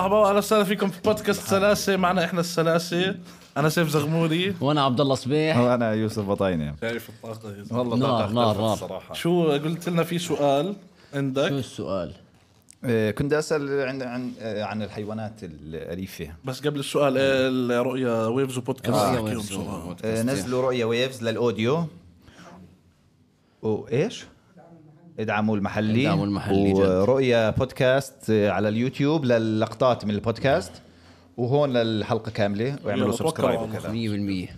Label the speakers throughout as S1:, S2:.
S1: اهلا وسهلا فيكم في بودكاست سلاسه معنا احنا السلاسه انا سيف زغموري
S2: وانا عبد الله صبيح
S3: وانا يوسف بطاينه
S1: شايف الطاقه يا زلمة.
S3: والله
S2: نار،
S3: طاقة
S2: نار،
S3: اختلفت
S2: نار.
S3: الصراحه
S1: شو قلت لنا في سؤال
S2: شو
S1: عندك
S2: السؤال؟
S3: آه، كنت اسال عن عن آه، عن الحيوانات الاليفه
S1: بس قبل السؤال إيه الرؤيا ويفز وبودكاست
S2: الرؤيا
S1: احكيهم
S2: ويفز
S1: شو.
S3: آه، نزلوا رؤيا ويفز للاوديو وايش؟ ادعموا المحلي
S2: ادعموا المحلي، جد.
S3: ورؤيا بودكاست آه، على اليوتيوب للقطات من البودكاست وهون للحلقه كامله واعملوا
S1: يلا، توكلوا
S3: سبسكرايب
S1: على الله.
S3: وكذا
S2: 100%
S1: إيه.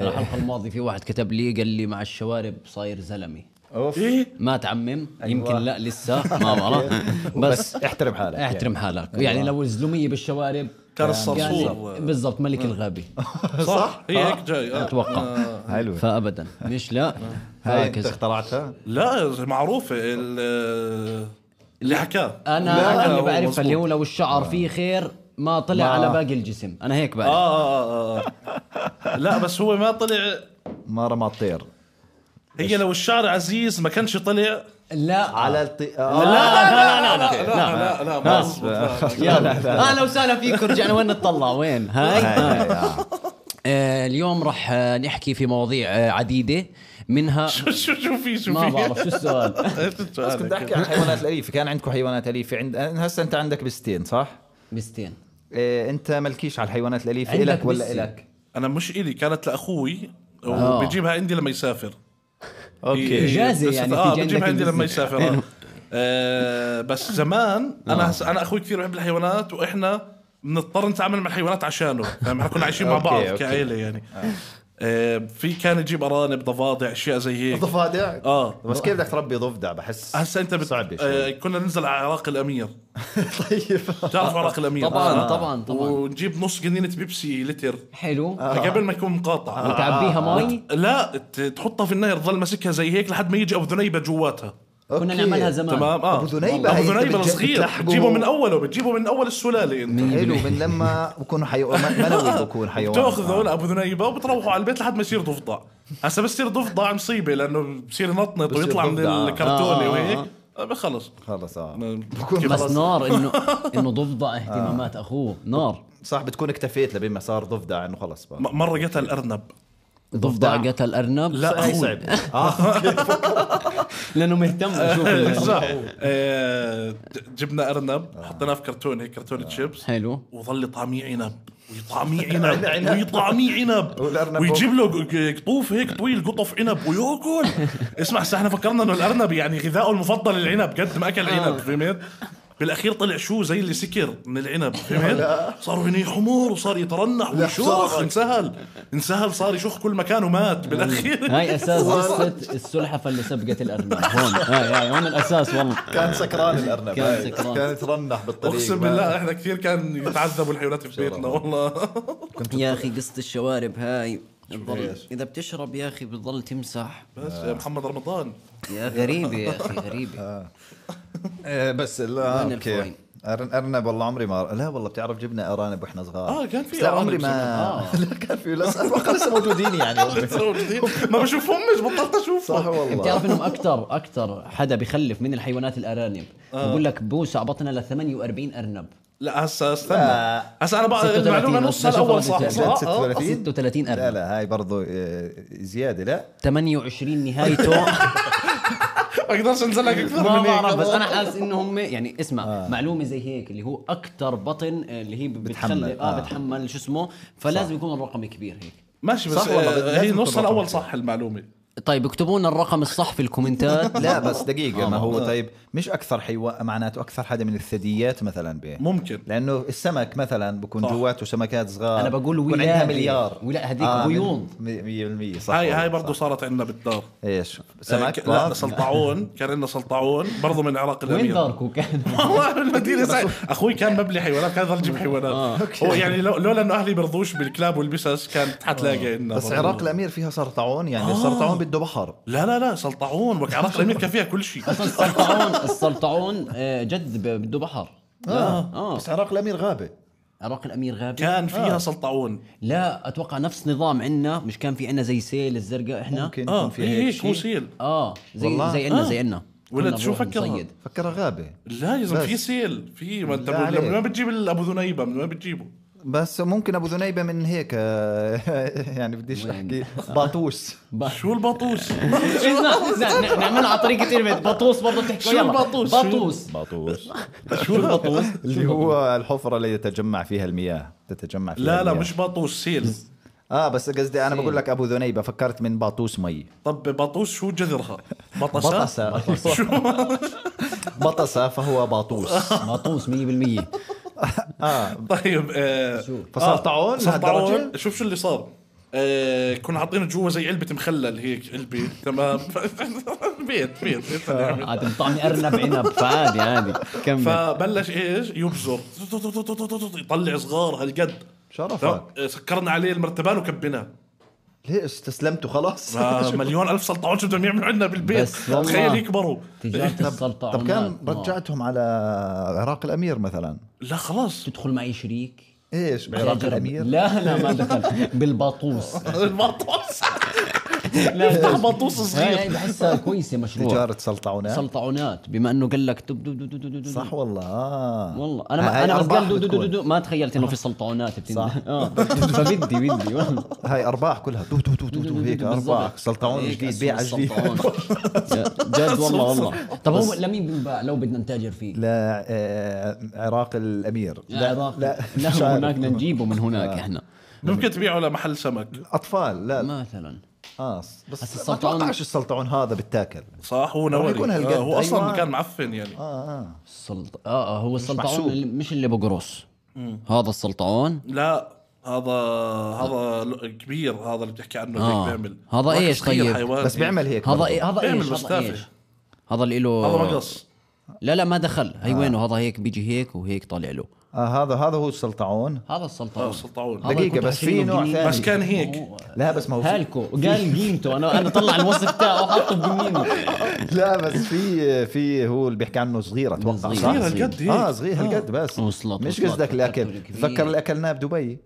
S2: أنا الحلقه الماضيه في واحد كتب لي قال لي مع الشوارب صاير زلمه
S3: اوف
S1: ايه
S2: ما تعمم يمكن لا لسه ما بعرف
S3: بس
S2: بس
S3: احترم حالك
S2: احترم حالك يعني لو الزلميه بالشوارب
S1: أيوة. كان
S2: قال لي
S1: الصرصور
S2: بالضبط ملك الغابه
S1: صح هي هيك جاي آه.
S2: اتوقع
S3: يعني. حلو
S2: فابدا مش لا
S3: هاي انت
S2: هكذا
S3: اخترعتها
S1: لا معروفه ال- اللي حكاه
S2: انا اللي
S1: هو
S2: بعرفها
S1: مظبوط.
S2: اللي هو لو الشعر فيه خير ما طلع
S3: ما-
S2: على باقي الجسم انا هيك
S1: آه,
S2: بعرف
S1: آه, آه, اه لا بس هو ما طلع
S3: ما رمى الطير
S1: هي لو الشعر عزيز ما كانش طلع
S2: لا
S3: على الطير
S2: لا لا لا لا
S1: لا لا
S2: لا
S1: لا, ما مزبوط، لا, لا.
S2: يلا آه، اهلا وسهلا فيكم رجعنا وين نطلع وين هاي, هاي. آه اليوم راح آه، نحكي في مواضيع آه، عديده منها
S1: شو شو شو في شو في
S2: ما بعرف شو السؤال
S1: إيش السؤال؟
S3: كنت احكي عن الحيوانات الاليفه كان عندكم حيوانات اليفه عند هسه انت عندك بستين صح؟
S2: مستين
S3: إيه انت ملكيش على الحيوانات الاليفه
S2: عندك
S3: الك ولا
S2: بستين.
S3: الك؟
S1: انا مش الي كانت لاخوي
S2: آه.
S1: وبيجيبها عندي لما يسافر
S3: اوكي
S2: إجازة
S1: بس-
S2: يعني
S1: اه
S2: تيجي
S1: بجيبها
S2: عندك
S1: عندي لما
S2: الإجازة.
S1: يسافر آه. آه بس زمان انا هس... انا اخوي كثير بحب الحيوانات واحنا بنضطر نتعامل مع الحيوانات عشانه فاهم احنا كنا عايشين مع
S3: أوكي،
S1: بعض
S3: أوكي.
S1: كعيله يعني آه في كان يجيب ارانب ضفادع اشياء زي هيك
S3: ضفادع؟
S1: اه
S3: بس كيف بدك تربي ضفدع بحس
S1: هسا انت بت...
S3: صعبة
S1: آه
S3: شوي
S1: كنا ننزل على عراق الامير
S3: طيب
S1: بتعرف عراق الامير
S2: طبعا طبعا طبعا
S1: ونجيب نص جنينه بيبسي لتر
S2: حلو
S1: قبل ما يكون مقاطع
S2: وتعبيها مي
S1: لا ت- تحطها في النار تظل ماسكها زي هيك لحد ما يجي ابو ذنيبه جواتها
S3: أوكي.
S2: كنا نعملها زمان
S1: تمام اه
S3: نعم. أبو ذنيبة
S1: والله.
S3: هي
S1: ابو
S3: أنت
S1: ذنيبه
S3: بتج-
S1: الصغير
S3: بتلحقه.
S1: بتجيبه من اوله بتجيبه من اول السلاله انت
S3: حلو من لما بكونوا حيوان
S1: آه.
S3: منوي بكون حيوان آه.
S1: بتاخذه لابو ذنيبه وبتروحوا على البيت لحد ما يصير ضفدع هسا بس يصير ضفدع مصيبه لانه بصير نطنط
S3: بصير
S1: ويطلع من
S3: ضفدع.
S1: الكرتونه
S2: آه.
S1: وهيك آه، خلص
S3: خلص اه
S1: نعم. كيف
S2: بس
S1: خلص؟
S2: نار انه انه ضفدع اهتمامات اخوه نار
S3: صح بتكون اكتفيت لبين ما صار ضفدع انه خلص بقى
S1: م- مره قتل ارنب
S2: ضفدع قتل ارنب
S1: لا
S3: هاي
S1: أخوي.
S3: صعبة اه
S2: لانه مهتم يشوف ال-
S1: صح آه، ج- جبنا ارنب حطيناه في كرتون هيك
S3: آه.
S1: كرتون شيبس
S2: حلو
S1: وظل طعميه عنب ويطعميه عنب ويطعميه عنب
S3: والأرنب
S1: ويجيب له ق- قطوف هيك طويل قطف عنب وياكل اسمع هسه احنا فكرنا انه الارنب يعني غذائه المفضل العنب قد ما اكل عنب فهمت بالاخير طلع شو زي اللي سكر من العنب فهمت صار هنا حمر وصار يترنح ويشخ
S3: بصراحة.
S1: انسهل انسهل صار يشخ كل مكان ومات بالاخير
S2: هاي اساس قصه السلحفه اللي سبقت الارنب هون هاي هاي هون الاساس والله
S3: كان سكران الارنب
S2: كان
S3: هاي.
S2: سكران.
S3: آه. كان يترنح بالطريق
S1: اقسم
S3: ما-
S1: بالله احنا كثير كان يتعذبوا الحيوانات في بيتنا والله
S2: يا اخي قصه الشوارب هاي بتضل اذا بتشرب يا اخي بتضل تمسح
S1: بس محمد رمضان
S2: يا غريبه يا اخي غريبه
S3: إيه بس لا
S2: وين
S3: اوكي
S2: الفوين؟
S3: أرن- ارنب والله عمري ما لا والله بتعرف جبنا ارانب واحنا صغار
S1: آه، كان في
S3: بس لا
S1: أرانب آه.
S3: عمري ما لا كان في لا اتوقع لسه موجودين يعني
S1: ما بشوفهمش بطلت اشوفهم
S3: صح والله
S2: بتعرف انهم اكثر اكثر حدا بخلف من الحيوانات الارانب بقول لك بوسع بطنا ل 48 ارنب
S1: لا هسا استنى
S3: لا.
S1: هسا انا بقى
S2: 36
S1: المعلومه نصها
S2: بس شوف
S1: الاول صح
S2: الرجال.
S1: صح
S3: ست
S1: آه.
S3: ولا- 30?
S2: 36
S3: لا
S2: ارنب
S3: لا هاي برضو آه، زياده لا
S2: 28 نهايته
S1: اقدرش انزل أه. لك اكثر
S2: ما
S1: من
S2: بعرف بس
S1: هيك
S2: انا حاسس انه هم يعني اسمع آه. معلومه زي هيك اللي هو اكثر بطن آه، اللي هي بتحمل
S3: بتحمل،
S2: اه
S3: آه.
S2: بتحمل شو اسمه فلازم يكون الرقم كبير هيك
S1: ماشي بس
S3: صح والله،
S1: آه،
S3: لازم
S1: هي
S3: يكون
S1: نصها
S3: رقم
S1: الاول
S3: كبير.
S1: صح المعلومه
S2: طيب اكتبوا لنا الرقم الصح في الكومنتات
S3: لا بس دقيقه
S2: آه.
S3: ما هو طيب مش اكثر حيوان معناته اكثر حدا من الثدييات مثلا به
S1: ممكن
S3: لانه السمك مثلا بكون
S1: صح.
S3: جواته سمكات صغار
S2: أنا بقول
S3: بكون عندها
S2: ولاده.
S3: مليار
S2: ولا- هذيك
S3: آه، من-
S2: بيوض.
S3: مية- 100% صح
S1: هاي هاي
S3: والله،
S1: برضه
S3: صح.
S1: صارت عندنا بالدار
S3: ايش
S1: آه،
S3: سمك
S1: ك- لا
S3: آه.
S1: سلطعون كان عندنا سلطعون برضه من عراق
S2: وين
S1: الامير
S2: داركو كان
S1: والله المدينه ساعة. اخوي كان مبلي حيوانات كان يضل يجيب
S3: آه،
S1: حيوانات هو يعني لو- لولا انه اهلي برضوش بالكلاب والبسس كانت حتلاقي عندنا
S3: آه. بس
S1: برضو.
S3: عراق الامير فيها سرطعون يعني السرطعون بده بحر
S1: لا لا لا سلطعون وك عراق الامير كان فيها كل شيء
S2: السلطعون السلطعون آه، جد ب- بده بحر
S3: اه بس عراق الامير غابه
S2: عراق الامير غابه
S1: كان فيها سلطعون
S2: لا اتوقع نفس نظام عندنا مش كان في عندنا زي سيل الزرقاء احنا
S3: ممكن
S1: اه
S3: يكون
S1: في
S3: فيها هيك
S1: هيك
S3: شيء
S1: وسيل
S2: اه زي
S3: والله.
S2: زي عندنا زي عندنا
S1: ولد
S2: كنا
S1: شو
S2: بروح
S1: فكرها
S2: نصيد.
S3: فكرها غابه
S1: لا يا زلمه
S3: بس.
S1: في سيل في ما انت
S3: لا
S1: من
S3: عليك.
S1: وين بتجيب ابو ذنيبه من وين بتجيبه
S3: بس ممكن ابو ذنيبه من هيك يعني بديش احكي باطوس
S1: شو البطوس
S2: إذن- نعم- نعملها على طريقه كلمه بطوس برضه
S1: شو
S2: بتحكوا يلا
S1: البطوس؟ شو-
S2: بطوس
S4: باطوس
S2: شو البطوس؟
S3: اللي هو الحفره اللي يتجمع فيها المياه تتجمع فيها
S1: لا لا
S3: المياه.
S1: مش بطوس سيل
S3: اه بس قصدي انا
S2: سيل.
S3: بقول لك ابو ذنيبه فكرت من باطوس مي
S1: طب بطوس شو جذرها بطسه
S3: بطسه
S1: شو
S3: بطسه فهو باطوس
S2: بطوس 100%
S1: طيب آه
S3: فصار
S1: آه،
S3: طاعون
S1: صار
S3: لهالدرجة؟
S1: طاعون شوف شو اللي صار آه كنا حاطين جوا زي علبه مخلل هيك علبه تمام بيت بيت بيت
S3: آه.
S1: نعمل.
S2: عاد طعمي ارنب عنب فعادي عادي كمل
S1: فبلش ايش يبزر يطلع صغار هالقد
S3: شرفك
S1: آه، سكرنا عليه المرتبان وكبيناه
S3: ليه استسلمت وخلاص
S1: آه، مليون الف سلطعون شو بدهم يعملوا عندنا بالبيت
S2: بس والله.
S1: تخيل يكبروا
S2: تجاره السلطه
S3: طب كان
S2: عمان.
S3: رجعتهم على عراق الامير مثلا
S1: لا خلاص
S2: تدخل معي شريك
S3: ايش بعراق
S2: تجرب.
S3: الامير
S2: لا لا ما دخل بالبطوس
S1: البطوس
S2: لا
S1: بطوس صغير
S2: هاي بحسها كويسه مشروع
S3: تجاره سلطعونات
S2: سلطعونات بما انه قال لك دب دب دب دب دب دب
S3: صح والله آه.
S2: والله انا
S3: هاي
S2: ما انا
S3: أرباح
S2: قصدي دو- دو- دو-
S3: بتكون.
S2: دو- ما تخيلت انه في سلطعونات بتنزل
S3: صح.
S2: اه فبدي بدي والله
S3: هاي ارباح كلها تو تو تو تو تو هيك ارباح
S2: بالضبط.
S3: سلطعون
S2: هيك
S3: جديد
S2: أسهم
S3: بيع جديد
S2: السلطعون. جد والله والله طب هو لمين بنباع لو بدنا نتاجر فيه؟
S3: لا آه، عراق الامير
S2: لا لا
S3: مش عارف. آه.
S2: هناك بدنا نجيبه من هناك احنا
S1: ممكن تبيعه لمحل سمك
S3: اطفال لا
S2: مثلا
S3: اه
S2: هسا
S3: بس ما
S2: السلطعون-
S3: اتوقعش السلطعون هذا بتاكل
S1: صح هو
S3: راح يكون
S1: نوري
S3: هالقد.
S1: آه، هو اصلا
S3: أيوة.
S1: كان معفن يعني
S3: اه اه
S2: السلط اه آه، هو
S3: محسوب.
S2: السلطعون اللي- مش اللي بقرص هذا السلطعون
S1: لا هذا هذا ل- كبير هذا اللي بتحكي عنه
S2: آه.
S1: هيك بيعمل
S2: هذا
S1: راجل
S2: إيش
S1: صغير
S2: طيب؟
S1: حيوان
S3: بس بيعمل هيك
S2: هذا
S3: برضه.
S2: إيه هذا
S1: بيعمل
S2: ايش هذا
S1: مستافة.
S2: ايش هذا اللي له
S1: هذا مقص
S2: لا لا ما دخل هي وينه هذا هيك بيجي هيك وهيك طالع له
S3: آه هذا هذا هو السلطعون
S2: هذا
S1: آه،
S2: السلطعون
S1: سلطعون
S2: هذا
S3: دقيقة،
S2: كنت
S3: بس في
S2: عشرينه
S3: نوع
S2: بجنيه.
S3: ثاني.
S1: بس كان هيك
S3: لا بس ما هو في-
S2: هالكو قال قيمته انا انا طلع الوصف تاعه وحطه بجنينه
S3: لا بس في في هو اللي بيحكي عنه صغير اتوقع
S2: صغير.
S1: صغير
S3: صح؟
S1: هالقد هيك
S3: اه صغير هالقد بس
S2: وصلت-
S3: مش
S2: وصلت.
S3: قصدك الاكل
S2: كبير.
S3: تذكر اللي اكلناه بدبي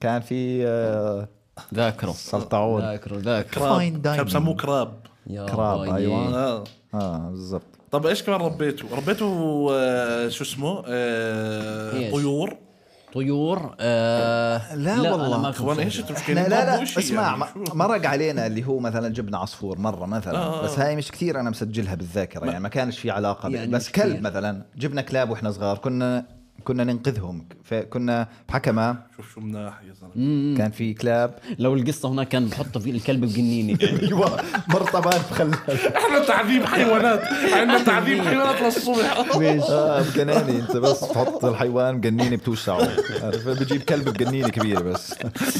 S3: كان في آه،
S2: ذاكره
S3: سلطعون
S2: ذاكره ذاكره
S3: Fine
S1: كراب
S3: dining.
S1: آه، كان بسموه كراب
S2: يا
S3: كراب،
S2: راجل.
S3: أيوة.
S1: اه
S3: اه بالضبط
S1: طب ايش كمان ربيته؟ ربيته آه، شو اسمه؟ آه،
S2: إيش؟
S1: طيور
S2: طيور آه
S3: لا والله.
S2: أنا ما
S1: كمان
S2: كنت
S1: ايش انتم مش
S3: احنا
S1: كاينين
S3: لا لا
S1: بربوا إشي
S3: اسمع
S1: يعني.
S3: ما-
S1: شو؟
S3: مرق علينا اللي هو مثلا جبنا عصفور مره مثلا بس هاي مش كثير انا مسجلها بالذاكره يعني ما كانش في علاقه
S2: يعني
S3: يعني بس
S2: مش كتير.
S3: كلب مثلا جبنا كلاب واحنا صغار كنا كنا ننقذهم فكنا بحكمه
S1: شوف شو مناح يا زلمه
S3: كان في كلاب
S2: لو القصه هناك كان بحطوا فيه الكلب بجنينه
S3: ايوه مرطبان مخلل
S1: احنا تعذيب حيوانات عندنا تعذيب حيوانات للصبح
S3: اه مجناني انت بس تحط الحيوان مجنيني بتوسعه عارف بجيب كلب مجنيني كبير بس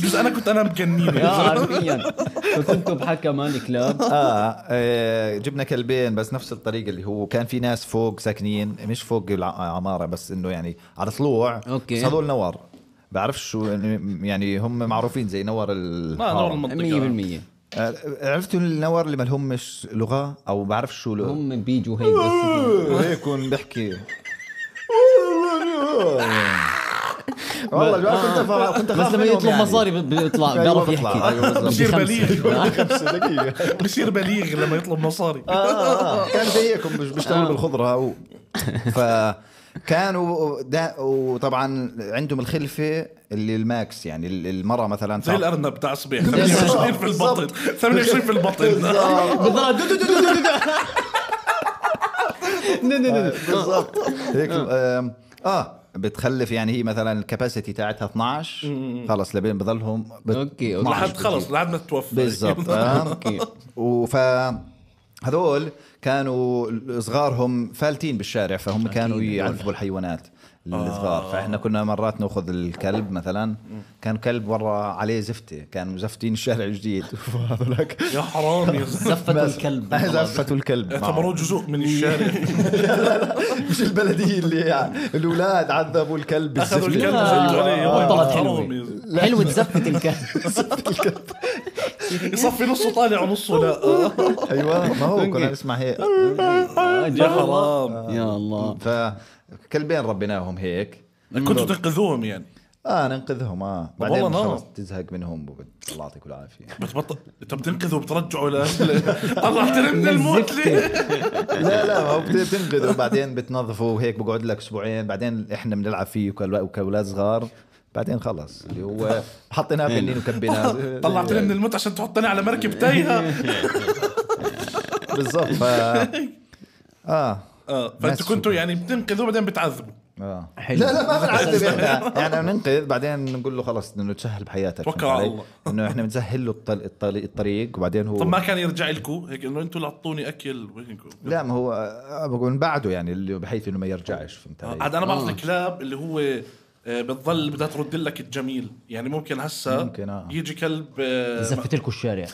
S1: بس انا كنت انا مجنين
S2: يا حرفيا فكنتوا بحكى مال كلاب
S3: آه, اه جبنا كلبين بس نفس الطريقه اللي هو كان في ناس فوق ساكنين مش فوق العماره بس انه يعني على طلوع
S2: أوكي.
S3: بس هذول نور بعرفش شو يعني هم معروفين زي نور ال
S1: ما دور
S3: آه.
S2: 100%
S1: المنطقه
S3: آه، عرفتوا النور اللي ما لهمش لغه او بعرفش شو له
S2: هم بيجوا هيك بس
S3: هيك بحكي
S2: آه.
S3: والله جوا- كنت أفا- كنت
S2: آه. بس لما
S3: منهم
S2: يطلب
S3: يعني.
S2: مصاري ب- بيطلع بيعرف
S3: أيوة بيطلع، أيوة
S2: يحكي
S3: بالضبط.
S1: بصير
S2: بخمسة.
S1: بليغ
S3: خمسة دقيقة
S1: بصير بليغ لما يطلب مصاري
S3: آه، كان زيكم مش
S2: آه.
S3: بيشتغلوا بالخضرة و... فكانوا دا... وطبعا عندهم الخلفة اللي الماكس يعني ال- المرة مثلا
S1: زي الارنب تاع صبيح 28 في البطن 28 في البطن
S2: بالضبط دو- دو- دو- دو- دو- دو. نو- نو- نو- نو.
S3: بالضبط هيك
S2: آه.
S3: آم، اه بتخلف يعني هي مثلا الكباسيتي تاعتها 12 خلص لبين بضلهم بت...
S2: أوكي، أوكي.
S3: 12
S1: لحد خلص لحد ما توفى
S3: بالضبط آه. وف هذول كانوا صغارهم فالتين بالشارع فهم كانوا
S2: هذول.
S3: يعذبوا الحيوانات الصغار فاحنا كنا مرات ناخذ الكلب مثلا كان كلب ورا عليه زفته كانوا مزفتين الشارع الجديد وهذولك
S1: يا حرام يا زلمه
S2: زفتوا الكلب
S3: زفتوا الكلب
S1: اعتبروه
S3: معهم.
S1: جزء من الشارع
S3: مش البلديه اللي يعني الاولاد عذبوا الكلب
S1: اخذوا
S3: بالزفته
S1: الكلب
S2: آه،
S1: زفتوا عليه
S2: آه،
S1: يا
S2: طلعت
S1: حرام
S2: حلوة.
S1: يا زلمة.
S2: حلوة زفة الكلب
S1: يصفي نصه طالع ونصه لا آه.
S3: ايوه ما هو كنا نسمع هيك
S1: يا حرام
S2: يا الله
S3: فكلبين ربيناهم هيك
S1: كنتوا تنقذوهم يعني
S3: اه ننقذهم اه بعدين
S1: والله نار.
S3: نعم. خلص تزهق منهم وبت- الله يعطيكم العافيه
S1: بتبطل انت بتنقذه وبترجعه ل طلعتني من الموت ليه؟
S3: لا لا هو بت- بتنقذه وبعدين بتنظفه وهيك بقعد لك اسبوعين بعدين احنا بنلعب فيه وكل- وكاولاد صغار بعدين خلص اللي هو حطيناه بنين وكبيناه
S1: طلعتني من الموت عشان تحطني على مركب تايهه
S3: بالضبط ف... اه
S1: اه
S3: ناس
S1: فانتوا كنتوا يعني بتنقذوا بعدين بتعذبوا
S3: اه
S2: حلو.
S3: لا لا ما بنعذب احنا يعني بننقذ بعدين بنقول له خلص انه تسهل بحياتك
S1: توكل
S3: فهمت
S1: على
S3: علي؟
S1: الله.
S3: انه احنا بنسهل له الطل... الطل... الطريق وبعدين هو
S1: طب ما كان يرجع لكم هيك انه انتوا اللي اعطوني اكل وهيك.
S3: لا ما هو آه، بقول بعده يعني اللي بحيث انه ما يرجعش فهمت علي؟
S1: آه، عاد انا بعرف الكلاب اللي هو آه، بتضل بدها ترد لك الجميل يعني ممكن هسا
S3: ممكن، آه.
S1: يجي كلب آه،
S2: زفت لكم الشارع